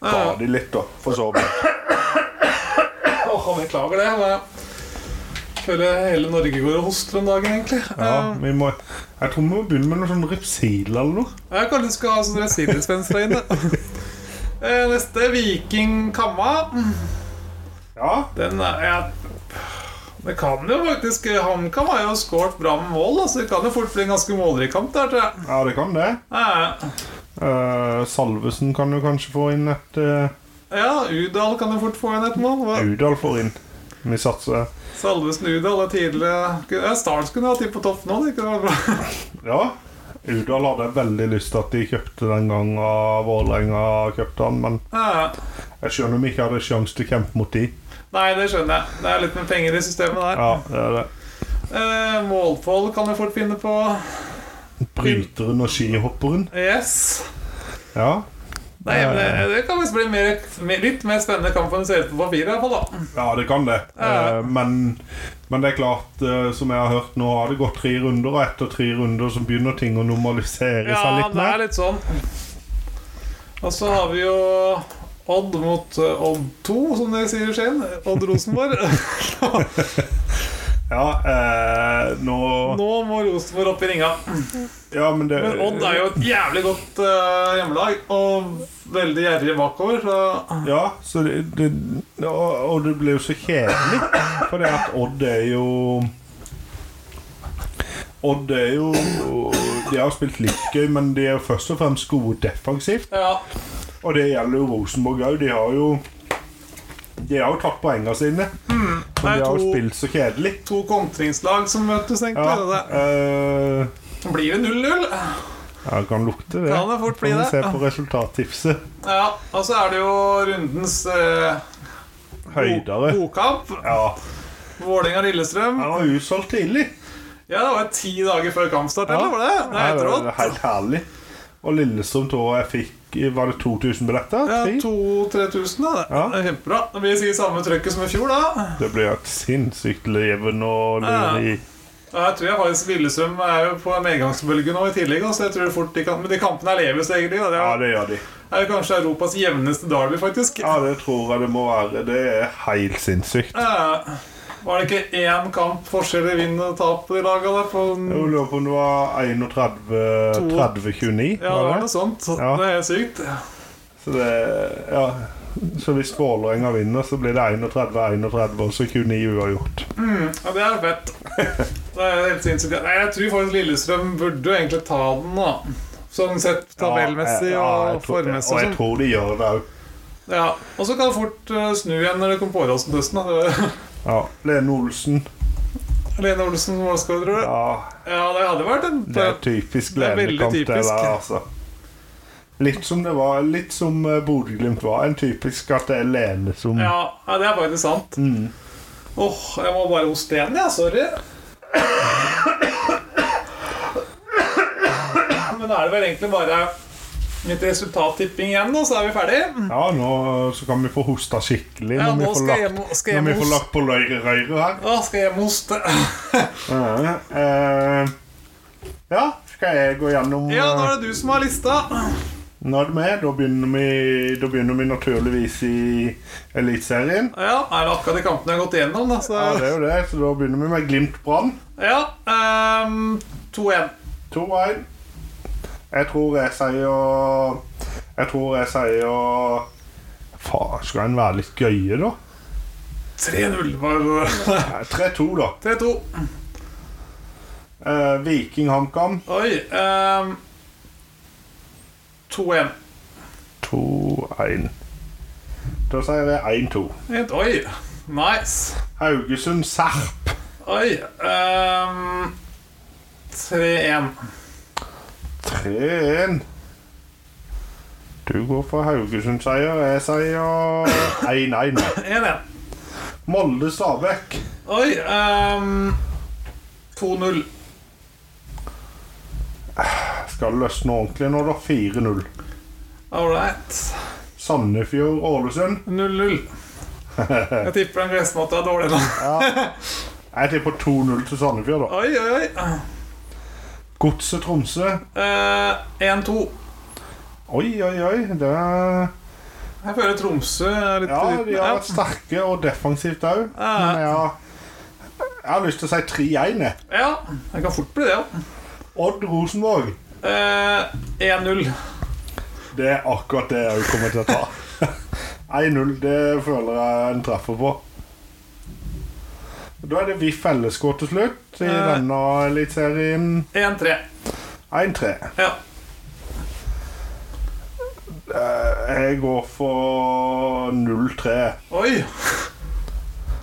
Speaker 2: ga
Speaker 1: Ja.
Speaker 2: de litt, da, for så vidt.
Speaker 1: Åh, jeg beklager det. men Jeg føler hele Norge går og hoster om dagen, egentlig.
Speaker 2: Ja,
Speaker 1: Ehm,
Speaker 2: vi må, jeg tror vi må begynne med noe sånn Repsil eller noe.
Speaker 1: jeg kanskje du skal ha sånn resilienspenser der inne. [laughs] Eh, Neste Viking Kamma.
Speaker 2: Ja,
Speaker 1: Den er jeg, Det kan jo faktisk HamKam har jo skåret bra med mål, da, så det kan jo fort bli en ganske målrik kamp der, tror jeg.
Speaker 2: ja det kan det.
Speaker 1: Eh,
Speaker 2: Eh, Salvesen kan jo kanskje få inn et uh,
Speaker 1: Ja, Udal kan jo fort få inn et mål. Hva?
Speaker 2: Udal får inn. Vi satser
Speaker 1: Salvesen Udal er tidligere ja, Start skulle hatt de på topp nå. Det kunne vært bra. [laughs]
Speaker 2: Ja. Udal hadde jeg veldig lyst til at de kjøpte den gangen av Vålerenga kjøpte han, men
Speaker 1: Ja.
Speaker 2: jeg skjønner om jeg ikke hadde sjanse til å kjempe mot de.
Speaker 1: Nei, det skjønner jeg. Det er litt med penger i systemet der.
Speaker 2: Ja, det er det.
Speaker 1: Eh, Målfold kan jo fort finne på
Speaker 2: Bryteren og skihopperen.
Speaker 1: Yes.
Speaker 2: Ja.
Speaker 1: Nei, men det, det kan visst bli mer, mer- litt mer spennende kamp enn det ser ut på papiret. i hvert fall, da.
Speaker 2: Ja, det kan det.
Speaker 1: Ja.
Speaker 2: Eh, Men, men det er klart, eh, som jeg har hørt nå, har det gått tre runder, og etter tre runder så begynner ting å normalisere seg
Speaker 1: Ja,
Speaker 2: litt
Speaker 1: det er
Speaker 2: mer.
Speaker 1: litt sånn. Og så har vi jo Odd mot eh, Odd 2, som de sier i Skien. Odd Rosenborg. [laughs]
Speaker 2: Ja, eh, nå
Speaker 1: Nå må Rosenborg opp i ringa.
Speaker 2: Ja, men det
Speaker 1: Men Odd er jo et jævlig godt eh, hjemmelag, og veldig gjerrig bakover. Så
Speaker 2: Ja, så det, det, og, og det blir jo så kjedelig, for det at Odd er jo Odd er jo De har spilt litt gøy, men de er jo først og fremst gode defensivt.
Speaker 1: ja.
Speaker 2: Og det gjelder jo Rosenborg òg. De har jo De har jo tatt poengene sine. Men
Speaker 1: Nei,
Speaker 2: de har
Speaker 1: to-
Speaker 2: jo spilt så kjedelig.
Speaker 1: To kontringslag som møtes,
Speaker 2: Ja,
Speaker 1: egentlig. Det
Speaker 2: eh,
Speaker 1: der. Blir det 0-0?
Speaker 2: ja, det kan lukte det.
Speaker 1: Kan det fort bli
Speaker 2: Får vi
Speaker 1: det.
Speaker 2: Se på resultattipset.
Speaker 1: Ja, og så er det jo rundens eh,
Speaker 2: Høydere.
Speaker 1: bo- bokkamp.
Speaker 2: Ja,
Speaker 1: Vålerenga-Lillestrøm.
Speaker 2: han var utsolgt tidlig.
Speaker 1: Ja, det var jo ti dager før kampstart, eller var det? Det
Speaker 2: Ja,
Speaker 1: er helt
Speaker 2: det
Speaker 1: rått.
Speaker 2: er helt herlig. Og Lillestrøm tror jeg fikk Var det 2000 billetter?
Speaker 1: Ja,
Speaker 2: Tre?
Speaker 1: 2000-3000, da.
Speaker 2: Ja.
Speaker 1: Det er kjempebra. Da blir det sikkert samme trøkket som i fjor, da.
Speaker 2: Det ble et sinnssykt leven og lureri.
Speaker 1: Ja, Jeg tror jeg faktisk Lillestrøm er jo på medgangsbølgen nå i tillegg. da, Så jeg tror fort de kan, Men de kampene er levest, egentlig. Da. Det
Speaker 2: Ja,
Speaker 1: er,
Speaker 2: det gjør de.
Speaker 1: er jo kanskje Europas jevneste derby, faktisk.
Speaker 2: Ja, det tror jeg det må være. Det er helt sinnssykt.
Speaker 1: Ja. Var det ikke én kamp forskjell i vinn og tap i laget? Da, på en,
Speaker 2: Jeg lurer på om det var 31-30-29.
Speaker 1: ja, det var noe sånt.
Speaker 2: Ja.
Speaker 1: Det er helt sykt.
Speaker 2: Så det Ja. Så hvis Vålerenga vinner, så blir det 31-31, og så 29 uavgjort.
Speaker 1: Ja, det er
Speaker 2: [laughs]
Speaker 1: fett. Det er helt sinnssykt. Nei, jeg tror faktisk Lillestrøm burde jo egentlig ta den, da. Sånn sett tabellmessig
Speaker 2: Ja, jeg- ja, jeg
Speaker 1: og
Speaker 2: tror-
Speaker 1: formmessig.
Speaker 2: Og
Speaker 1: og
Speaker 2: jeg
Speaker 1: sånn.
Speaker 2: tror de gjør det òg.
Speaker 1: Ja, Og så kan det fort eh, snu igjen når det kommer på Åråsen-høsten.
Speaker 2: Ja. Lene Olsen.
Speaker 1: [laughs] Lene Olsen som målskårer, tror du?
Speaker 2: Ja,
Speaker 1: Ja, det hadde vært en
Speaker 2: det er typisk
Speaker 1: Det er veldig
Speaker 2: Lene-kamp, det der,
Speaker 1: typisk.
Speaker 2: altså. Litt som det var Litt som eh, Bodø-Glimt var. En typisk at det er Lene som
Speaker 1: Ja, ja, det er faktisk sant. Åh,
Speaker 2: Mm.
Speaker 1: jeg må bare hoste igjen, jeg. Ja, sorry. Men da er det vel egentlig bare litt resultattipping igjen, nå, så er vi ferdig.
Speaker 2: Ja, nå så kan vi få hosta skikkelig
Speaker 1: Ja,
Speaker 2: når, vi
Speaker 1: nå
Speaker 2: får
Speaker 1: skal jeg
Speaker 2: lagt,
Speaker 1: hjem- skal jeg
Speaker 2: når vi
Speaker 1: hos-
Speaker 2: får lagt på løyrøyret her.
Speaker 1: Å, skal jeg hoste?
Speaker 2: Ja, eh, ja, skal jeg gå gjennom
Speaker 1: [laughs] Ja, nå
Speaker 2: eh,
Speaker 1: er det du som har lista.
Speaker 2: Nå er det meg. Da begynner vi, da begynner vi naturligvis i Eliteserien.
Speaker 1: Ja, er det akkurat de kampene jeg har gått igjennom, da, så
Speaker 2: Ja, det er jo det, så da begynner vi med Glimt-Brann.
Speaker 1: Ja. ehm, 2-1.
Speaker 2: 2-1. Jeg tror jeg sier Jeg tror jeg sier Faen, skal en være litt gøye, da?
Speaker 1: 3-0 [laughs] var
Speaker 2: Nei, 3-2, da.
Speaker 1: 3-2.
Speaker 2: Eh, Viking-HamKam
Speaker 1: Oi. ehm, 2-1.
Speaker 2: 2-1. Da sier jeg 1-2.
Speaker 1: Helt- Oi. Nice.
Speaker 2: Haugesund-Serp
Speaker 1: Oi. ehm, 3-1.
Speaker 2: 3-1. Du går for Haugesund-seier. Jeg sier 1-1.
Speaker 1: 1-1.
Speaker 2: Molde-Stabæk
Speaker 1: Oi. ehm, 2-0.
Speaker 2: skal løsne ordentlig nå, da. 4-0.
Speaker 1: All right.
Speaker 2: Sandefjord-Ålesund
Speaker 1: 0-0. Jeg tipper den gressmatta er dårlig nå.
Speaker 2: Jeg tipper 2-0 til Sandefjord, da.
Speaker 1: Oi, oi, oi.
Speaker 2: Godset Tromsø.
Speaker 1: Eh, 1-2.
Speaker 2: Oi, oi, oi. Det er...
Speaker 1: Jeg føler Tromsø er litt
Speaker 2: Ja, de har
Speaker 1: ja.
Speaker 2: vært sterke og defensivt òg.
Speaker 1: Ja.
Speaker 2: Men jeg har, jeg har lyst til å si 3-1. jeg.
Speaker 1: ja. Det kan fort bli det, ja.
Speaker 2: Odd Rosenborg.
Speaker 1: Eh, 1-0.
Speaker 2: Det er akkurat det jeg kommer til å ta.
Speaker 1: [laughs]
Speaker 2: 1-0, det føler jeg en treffer på. Da er det vi LSK til slutt i
Speaker 1: Ja.
Speaker 2: denne eliteserien.
Speaker 1: 1-3.
Speaker 2: 1-3.
Speaker 1: Ja.
Speaker 2: Eh, Jeg går for 0-3.
Speaker 1: Oi.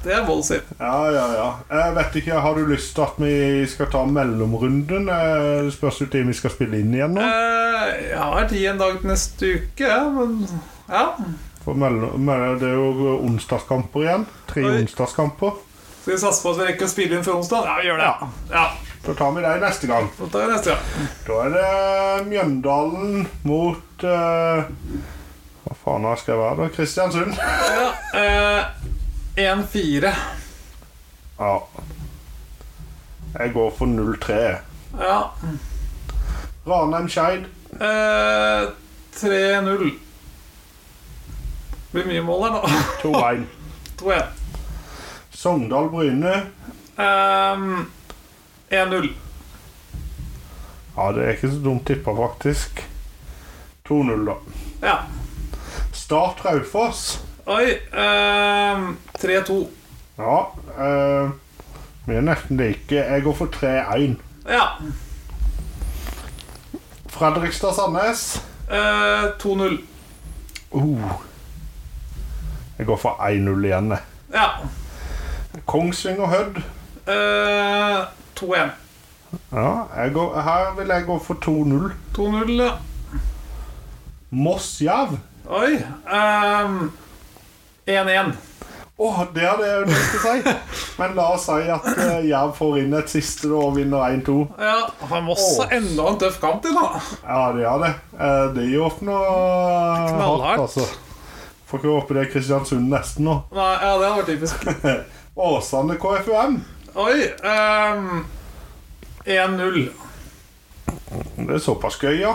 Speaker 1: Det er voldsomt.
Speaker 2: Ja, ja, ja. Jeg vet ikke, Har du lyst til at vi skal ta mellomrunden? Eh, Det spørs jo tid vi skal spille inn igjen nå.
Speaker 1: Eh, jeg har tid en dag neste uke, ja, men ja.
Speaker 2: For mellom, mellom, det er jo onsdagskamper igjen. Tre
Speaker 1: Oi.
Speaker 2: onsdagskamper.
Speaker 1: Skal vi satse på at vi rekker å spille inn før onsdag? Ja, vi gjør det. Ja,
Speaker 2: Da tar vi deg neste gang.
Speaker 1: Da tar vi neste gang.
Speaker 2: Da er det Mjøndalen mot eh, Hva faen har jeg skrevet her, da? Kristiansund.
Speaker 1: Ja, eh, 1-4.
Speaker 2: Ja. Jeg går for 0-3.
Speaker 1: Ja.
Speaker 2: Ranheim-Skeid.
Speaker 1: Eh, 3-0. Blir mye mål her nå. [laughs]
Speaker 2: 2-1.
Speaker 1: 2-1.
Speaker 2: Sogndal-Bryne.
Speaker 1: Ehm, 1-0.
Speaker 2: Ja, det er ikke så dumt tippa, faktisk. 2-0, da.
Speaker 1: Ja.
Speaker 2: Start Raufoss.
Speaker 1: Oi. ehm, 3-2.
Speaker 2: Ja. eh, vi er nesten like. Jeg går for 3-1.
Speaker 1: Ja.
Speaker 2: Fredrikstad-Sandnes.
Speaker 1: Eh, 2-0.
Speaker 2: Uh. Jeg går for 1-0 igjen, jeg.
Speaker 1: Ja.
Speaker 2: Kongsvinger-Hødd.
Speaker 1: Eh, 2-1.
Speaker 2: Ja, jeg går, her vil jeg gå for 2-0.
Speaker 1: 2-0, ja.
Speaker 2: Moss-Jerv.
Speaker 1: Oi. ehm, 1-1.
Speaker 2: Å, Åh, det hadde jeg ønsket å si. Men la oss si at eh, Jerv får inn et siste da, og vinner 1-2.
Speaker 1: Ja, han var også
Speaker 2: Åh.
Speaker 1: enda en tøff kamp i dag.
Speaker 2: Ja, det gjør det. Eh, Det er jo ofte noe
Speaker 1: Knallhardt.
Speaker 2: hardt, altså. Får ikke håpe det er Kristiansund neste nå. [laughs]
Speaker 1: Nei, ja, det var typisk.
Speaker 2: Åsane KFUM.
Speaker 1: Oi. ehm, 1-0.
Speaker 2: Det er såpass gøy, ja.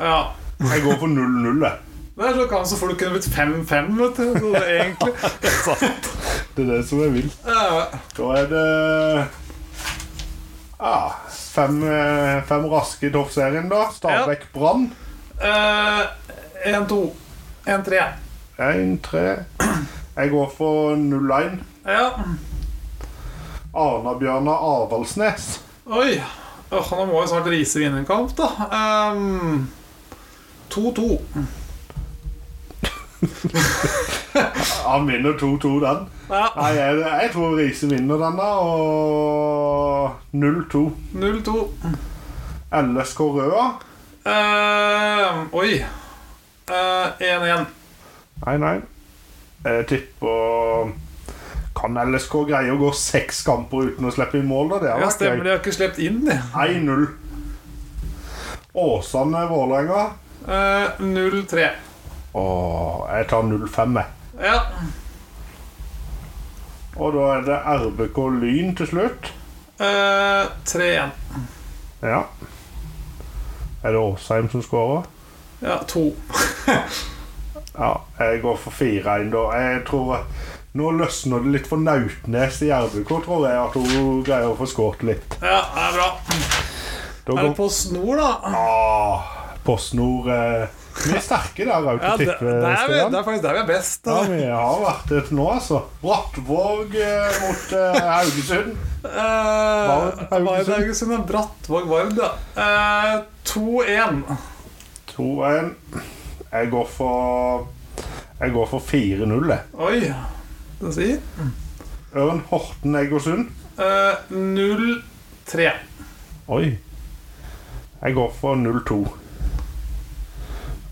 Speaker 1: Ja.
Speaker 2: Jeg går for 0-0, jeg.
Speaker 1: Det er så kan så folk kunne blitt 5-5, vet du. Så det er egentlig.
Speaker 2: Det er det som jeg vil.
Speaker 1: Ja,
Speaker 2: Da er det ja, fem, eh, fem raske i toppserien, da. Stabæk Brann.
Speaker 1: eh, 1-2. 1-3.
Speaker 2: 1-3. Jeg går for 0-1.
Speaker 1: Ja.
Speaker 2: Arna-Bjørnar Avaldsnes.
Speaker 1: Oi. Åh, nå må jo snart Riise vinne en kamp, da. Ehm, 2-2.
Speaker 2: Han vinner 2-2, den.
Speaker 1: Ja,
Speaker 2: Nei, jeg, jeg tror Riise vinner den, da. Og 0-2.
Speaker 1: 0-2.
Speaker 2: LSK Røa.
Speaker 1: Ehm, oi. Eh, 1-1.
Speaker 2: Nei, nei. Jeg tipper Kan LSK greie å gå seks kamper uten å slippe inn mål, da? Det
Speaker 1: Ja,
Speaker 2: har vært
Speaker 1: stemmer.
Speaker 2: gøy.
Speaker 1: De har ikke sluppet inn, de.
Speaker 2: 1-0. Åsane-Vålerenga.
Speaker 1: Eh, 0-3.
Speaker 2: Åh, jeg tar 0-5, jeg.
Speaker 1: Ja.
Speaker 2: Og da er det RBK Lyn til slutt.
Speaker 1: Eh, 3-1.
Speaker 2: Ja. Er det Åsheim som skårer?
Speaker 1: Ja, 2.
Speaker 2: Ja, jeg går for 4-1 da. Jeg tror Nå løsner det litt for Nautnes i RBK, tror jeg, at hun greier å få skåret litt.
Speaker 1: Ja, det er bra.
Speaker 2: Da
Speaker 1: Er det
Speaker 2: går
Speaker 1: på snor, da?
Speaker 2: Ah, PostNord eh, Vi er sterke der òg,
Speaker 1: Ja,
Speaker 2: til
Speaker 1: det, det, er, vi, det
Speaker 2: tippespillene.
Speaker 1: er faktisk der vi er best.
Speaker 2: Ja,
Speaker 1: Da.
Speaker 2: vi har vært det til nå, altså. Brattvåg eh, mot eh, Haugesund.
Speaker 1: Eh,
Speaker 2: Vard, Haugesund.
Speaker 1: Vard Haugesund og Brattvåg Vard, ja. Eh, 2-1.
Speaker 2: 2-1. Jeg går for Jeg går for 4-0, jeg.
Speaker 1: Oi. Det sier
Speaker 2: Ørn Horten Egersund.
Speaker 1: eh, 0-3.
Speaker 2: Oi. Jeg går for 0-2.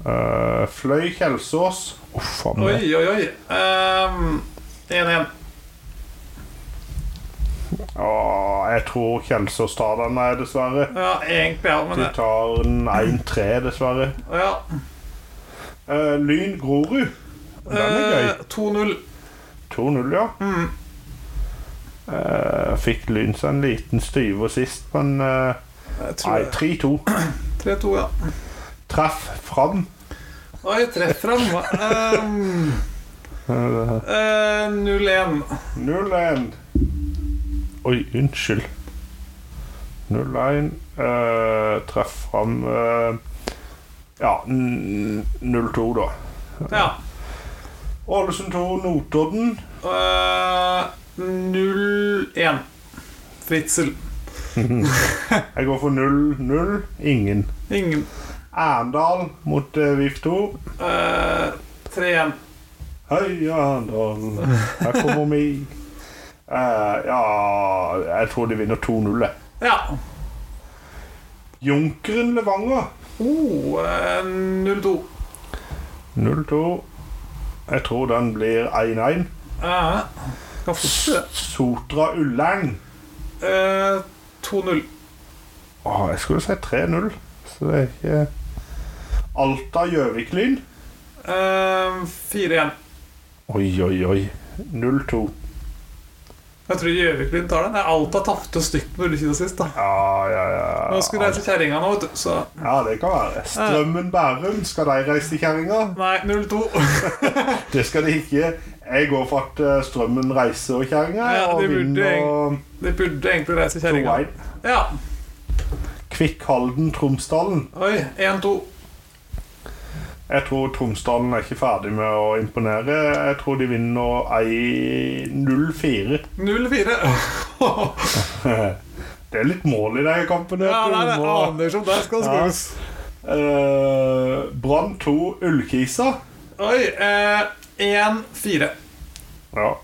Speaker 2: Eh, Fløy Kjelsås. Uff a
Speaker 1: Oi,
Speaker 2: meg.
Speaker 1: oi, oi. Ehm, 1-1.
Speaker 2: Ah, jeg tror Kjelsås tar den, nei, dessverre.
Speaker 1: Ja, egentlig, ja, men
Speaker 2: De
Speaker 1: det
Speaker 2: tar den 1-3, dessverre.
Speaker 1: Ja.
Speaker 2: Eh, Lyn Grorud. Den er gøy.
Speaker 1: Eh, Mm. 2-0.
Speaker 2: 2-0, ja. Eh, fikk Lyn seg en liten styver sist, men eh,
Speaker 1: Jeg tror
Speaker 2: Nei,
Speaker 1: det.
Speaker 2: 3-2.
Speaker 1: 3-2, ja.
Speaker 2: Treff fram.
Speaker 1: Oi, treffer han. Ehm,
Speaker 2: Eh,
Speaker 1: eh, 0-1.
Speaker 2: 0-1. Oi, unnskyld. 0-1. Eh, treff fram eh, Ja, n- 0-2, da.
Speaker 1: Ja.
Speaker 2: Ålesund 2, Notodden.
Speaker 1: Eh, 0-1. Fritzel.
Speaker 2: Jeg går for 0-0. Ingen.
Speaker 1: Ingen.
Speaker 2: Arendal mot eh, VIF 2.
Speaker 1: Eh, 3-1.
Speaker 2: Heia Arendal, her kommer vi. [laughs] Eh, ja Jeg tror de vinner 2-0. jeg.
Speaker 1: Ja.
Speaker 2: Junkeren Levanger.
Speaker 1: Oh, eh, 0-2.
Speaker 2: 0-2. Jeg tror den blir 1-1.
Speaker 1: Eh, kan fort det.
Speaker 2: Sotra Ullern.
Speaker 1: Eh, 2-0.
Speaker 2: Åh, jeg skulle si 3-0, så det er ikke Alta Gjøvik-Lyn.
Speaker 1: Eh, 4-1.
Speaker 2: Oi, oi, oi. 0-2.
Speaker 1: Jeg tror Gjøvik-Lyn tar den. Nei, Alta tapte stygt på rullekina sist. da
Speaker 2: Ja, ja, ja.
Speaker 1: Nå skulle de reise kjerringa nå, vet du. Så
Speaker 2: ja, det kan være. Strømmen Bærum, skal de reise til kjerringa?
Speaker 1: nei, 0-2.
Speaker 2: Det skal de ikke. Jeg går for at eh, strømmen reiser og kjerringa
Speaker 1: Ja,
Speaker 2: og
Speaker 1: det burde jeg.
Speaker 2: vinner
Speaker 1: [laughs] De burde egentlig reise kjerringa.
Speaker 2: 2-1.
Speaker 1: Ja.
Speaker 2: Kvikk Halden Tromsdalen.
Speaker 1: Oi. 1-2.
Speaker 2: Jeg tror Tromsdalen er ikke ferdig med å imponere. Jeg tror de vinner ei 0-4. [laughs]
Speaker 1: 0-4.
Speaker 2: Det er litt mål i de kampene.
Speaker 1: Ja, det er det.
Speaker 2: Du må-
Speaker 1: Andersson, der skal det
Speaker 2: Ja.
Speaker 1: skåres.
Speaker 2: Eh, Brann 2 Ullkisa.
Speaker 1: Oi. eh, 1-4.
Speaker 2: Ja.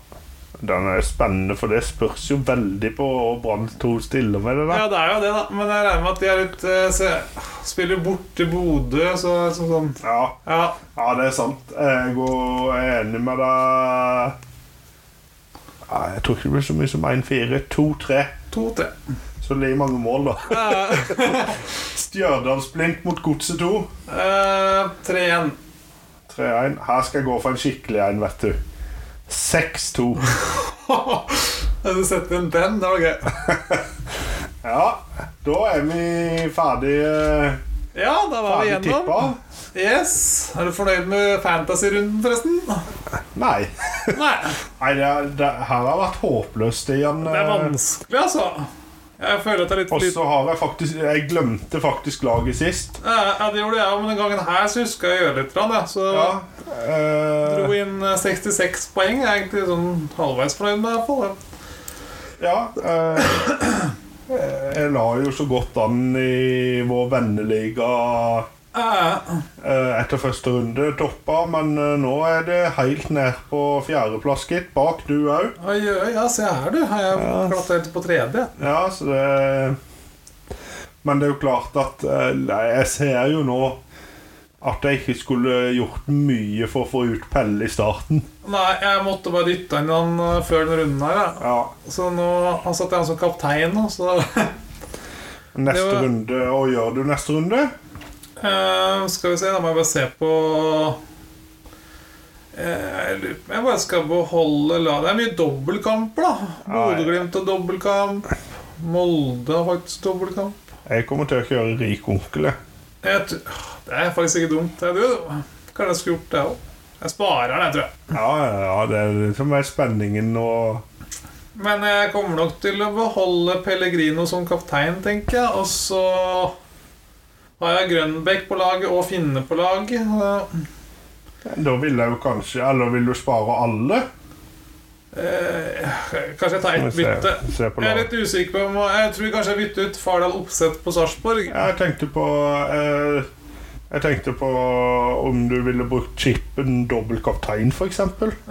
Speaker 2: Den er spennende, for det spørs jo veldig på hva Brann 2 stiller med det
Speaker 1: Ja,
Speaker 2: der.
Speaker 1: det er jo det, da. Men jeg regner med at de er litt eh, se, Spiller borte Bodø, så sånn sånn.
Speaker 2: Ja,
Speaker 1: Ja.
Speaker 2: ja det er sant. Jeg går- jeg er enig med deg. Nei, jeg tror ikke det blir så mye som 1-4. 2-3.
Speaker 1: 2-3.
Speaker 2: Så det blir mange mål, da. [laughs]
Speaker 1: Eh,
Speaker 2: Stjørdalsblink mot Godset 2.
Speaker 1: eh, 3-1.
Speaker 2: 3-1. Her skal jeg gå for en skikkelig en, vet du. 6-2.
Speaker 1: [laughs] Har du sett inn den? Det var gøy.
Speaker 2: Ja, da er vi ferdige,
Speaker 1: Ja, da var vi
Speaker 2: ferdig tippa.
Speaker 1: gjennom. Yes. Er du fornøyd med fantasy-runden, forresten?
Speaker 2: Nei.
Speaker 1: Nei.
Speaker 2: Nei det, er- det, her har vært håpløst igjen.
Speaker 1: Det er vanskelig, altså. Jeg føler at det er litt
Speaker 2: Og
Speaker 1: litt-
Speaker 2: så har jeg faktisk Jeg glemte faktisk laget sist.
Speaker 1: Ja, ja, det gjorde jeg, men den gangen her så husker jeg å gjøre litt. grann, jeg. Så
Speaker 2: Ja.
Speaker 1: dro
Speaker 2: eh,
Speaker 1: inn eh, 66 poeng. Jeg er egentlig sånn halvveis fornøyd med det. i hvert fall, ja.
Speaker 2: ja eh, jeg la jo så godt an i vår venneliga
Speaker 1: Ja, ja.
Speaker 2: eh, etter første runde, toppa, men eh, nå er det helt ned på fjerdeplass, gitt. Bak du òg.
Speaker 1: Oi, oi, ja, se her, du. Har jeg klatra helt på tredje?
Speaker 2: Ja, så det Men det er jo klart at eh, Nei, jeg ser jo nå at jeg ikke skulle gjort mye for å få ut Pelle i starten.
Speaker 1: Nei, jeg måtte bare dytte inn han eh, før den runden her. Ja.
Speaker 2: Ja,
Speaker 1: Så nå Han satt jeg han som kaptein nå, så [laughs]
Speaker 2: Neste
Speaker 1: Det var-
Speaker 2: runde. Og gjør du neste runde?
Speaker 1: Eh, Skal vi se, da må jeg bare se på Eh, Jeg lurer på om jeg bare skal beholde la Det er mye dobbeltkamper, da.
Speaker 2: Ja, ja.
Speaker 1: Bodø-Glimt og dobbeltkamp. Molde har faktisk dobbeltkamp.
Speaker 2: Jeg kommer til å kjøre Rik onkel. jeg.
Speaker 1: Jeg tr- Det er faktisk ikke dumt. Det er du. Kanskje jeg skulle gjort det òg. Jeg sparer den, jeg, tror jeg.
Speaker 2: Ja, ja, ja, det er det som er spenningen og
Speaker 1: Men jeg kommer nok til å beholde Pellegrino som kaptein, tenker jeg. Og så har jeg Grønbekk på laget og Finne på laget. Eh,
Speaker 2: Da vil jeg jo kanskje Eller vil du spare alle?
Speaker 1: eh, Kanskje jeg tar
Speaker 2: Må
Speaker 1: ett
Speaker 2: vi se-
Speaker 1: bytte.
Speaker 2: se på
Speaker 1: Jeg er
Speaker 2: lag.
Speaker 1: litt usikker på om Jeg tror kanskje jeg bytter ut Fardal Opseth på Sarpsborg.
Speaker 2: Jeg tenkte på eh, Jeg tenkte på om du ville brukt chipen dobbel kaptein, f.eks.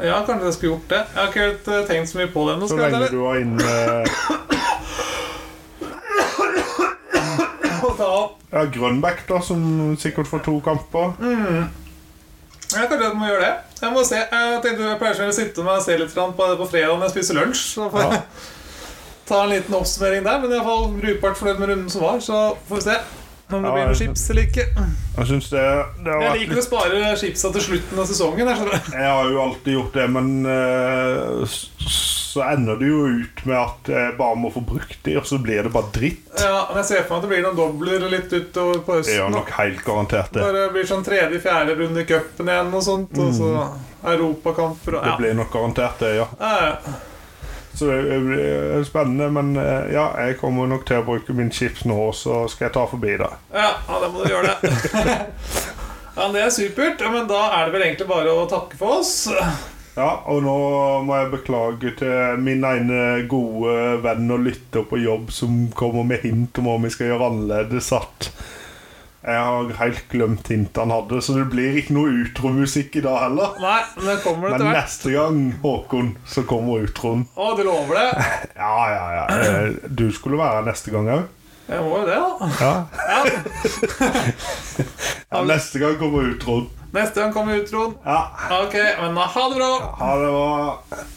Speaker 1: Ja, kanskje jeg skulle gjort det. Jeg har ikke helt eh, tenkt så mye på det ennå.
Speaker 2: Så
Speaker 1: skal jeg
Speaker 2: lenge
Speaker 1: være
Speaker 2: du var inne
Speaker 1: ærlig. Ta opp.
Speaker 2: Ja, Grønbæk, da, som sikkert får to kamper.
Speaker 1: Ja, kanskje jeg må gjøre det. Jeg må se. Jeg tenkte jeg pleier selv å sitte med og se litt grann på det på fredag når jeg spiser lunsj. Så får jeg
Speaker 2: Ja.
Speaker 1: [laughs] ta en liten oppsummering der. Men jeg er iallfall brukbart fornøyd med runden som var, så får vi se. Om det
Speaker 2: Ja,
Speaker 1: blir noen
Speaker 2: jeg-
Speaker 1: chips eller ikke.
Speaker 2: Jeg synes det, det har
Speaker 1: Jeg
Speaker 2: vært
Speaker 1: liker å
Speaker 2: litt
Speaker 1: spare chipsa til slutten av sesongen. Jeg skjønner.
Speaker 2: Jeg har jo alltid gjort det, men eh, s- så ender det jo ut med at jeg bare må få brukt de, og så blir det bare dritt.
Speaker 1: Ja, men jeg ser for meg at det blir noen dobler litt utover på
Speaker 2: Det
Speaker 1: høsten.
Speaker 2: gjør nok helt garantert det.
Speaker 1: Når det blir sånn tredje-fjerde runde i cupen igjen og sånt, og så europakamper og
Speaker 2: Mm. Det
Speaker 1: ja.
Speaker 2: blir nok garantert det, ja.
Speaker 1: Eh,
Speaker 2: Så eh, det det blir spennende, men eh, ja, jeg kommer nok til å bruke min chips nå, så skal jeg ta forbi det.
Speaker 1: ja, ja, da må du gjøre det. [laughs] ja, men Det er supert. Ja, men da er det vel egentlig bare å takke for oss.
Speaker 2: Ja, og nå må jeg beklage til min ene gode venn og lytter på jobb som kommer med hint om hva vi skal gjøre annerledes at jeg har helt glemt hintet han hadde, så det blir ikke noe utromusikk i dag heller.
Speaker 1: Nei, men det kommer
Speaker 2: Men
Speaker 1: etter hvert.
Speaker 2: neste gang, Håkon, så kommer utroen.
Speaker 1: Å, du lover det?
Speaker 2: Ja, ja, ja. eh, Du skulle være her neste gang òg.
Speaker 1: Jeg må jo det, da.
Speaker 2: Ja. [laughs]
Speaker 1: Ja.
Speaker 2: ja. Neste gang kommer utroen.
Speaker 1: Neste gang kommer utroen.
Speaker 2: Ja.
Speaker 1: Ok, men da ha det bra.
Speaker 2: Ha det bra.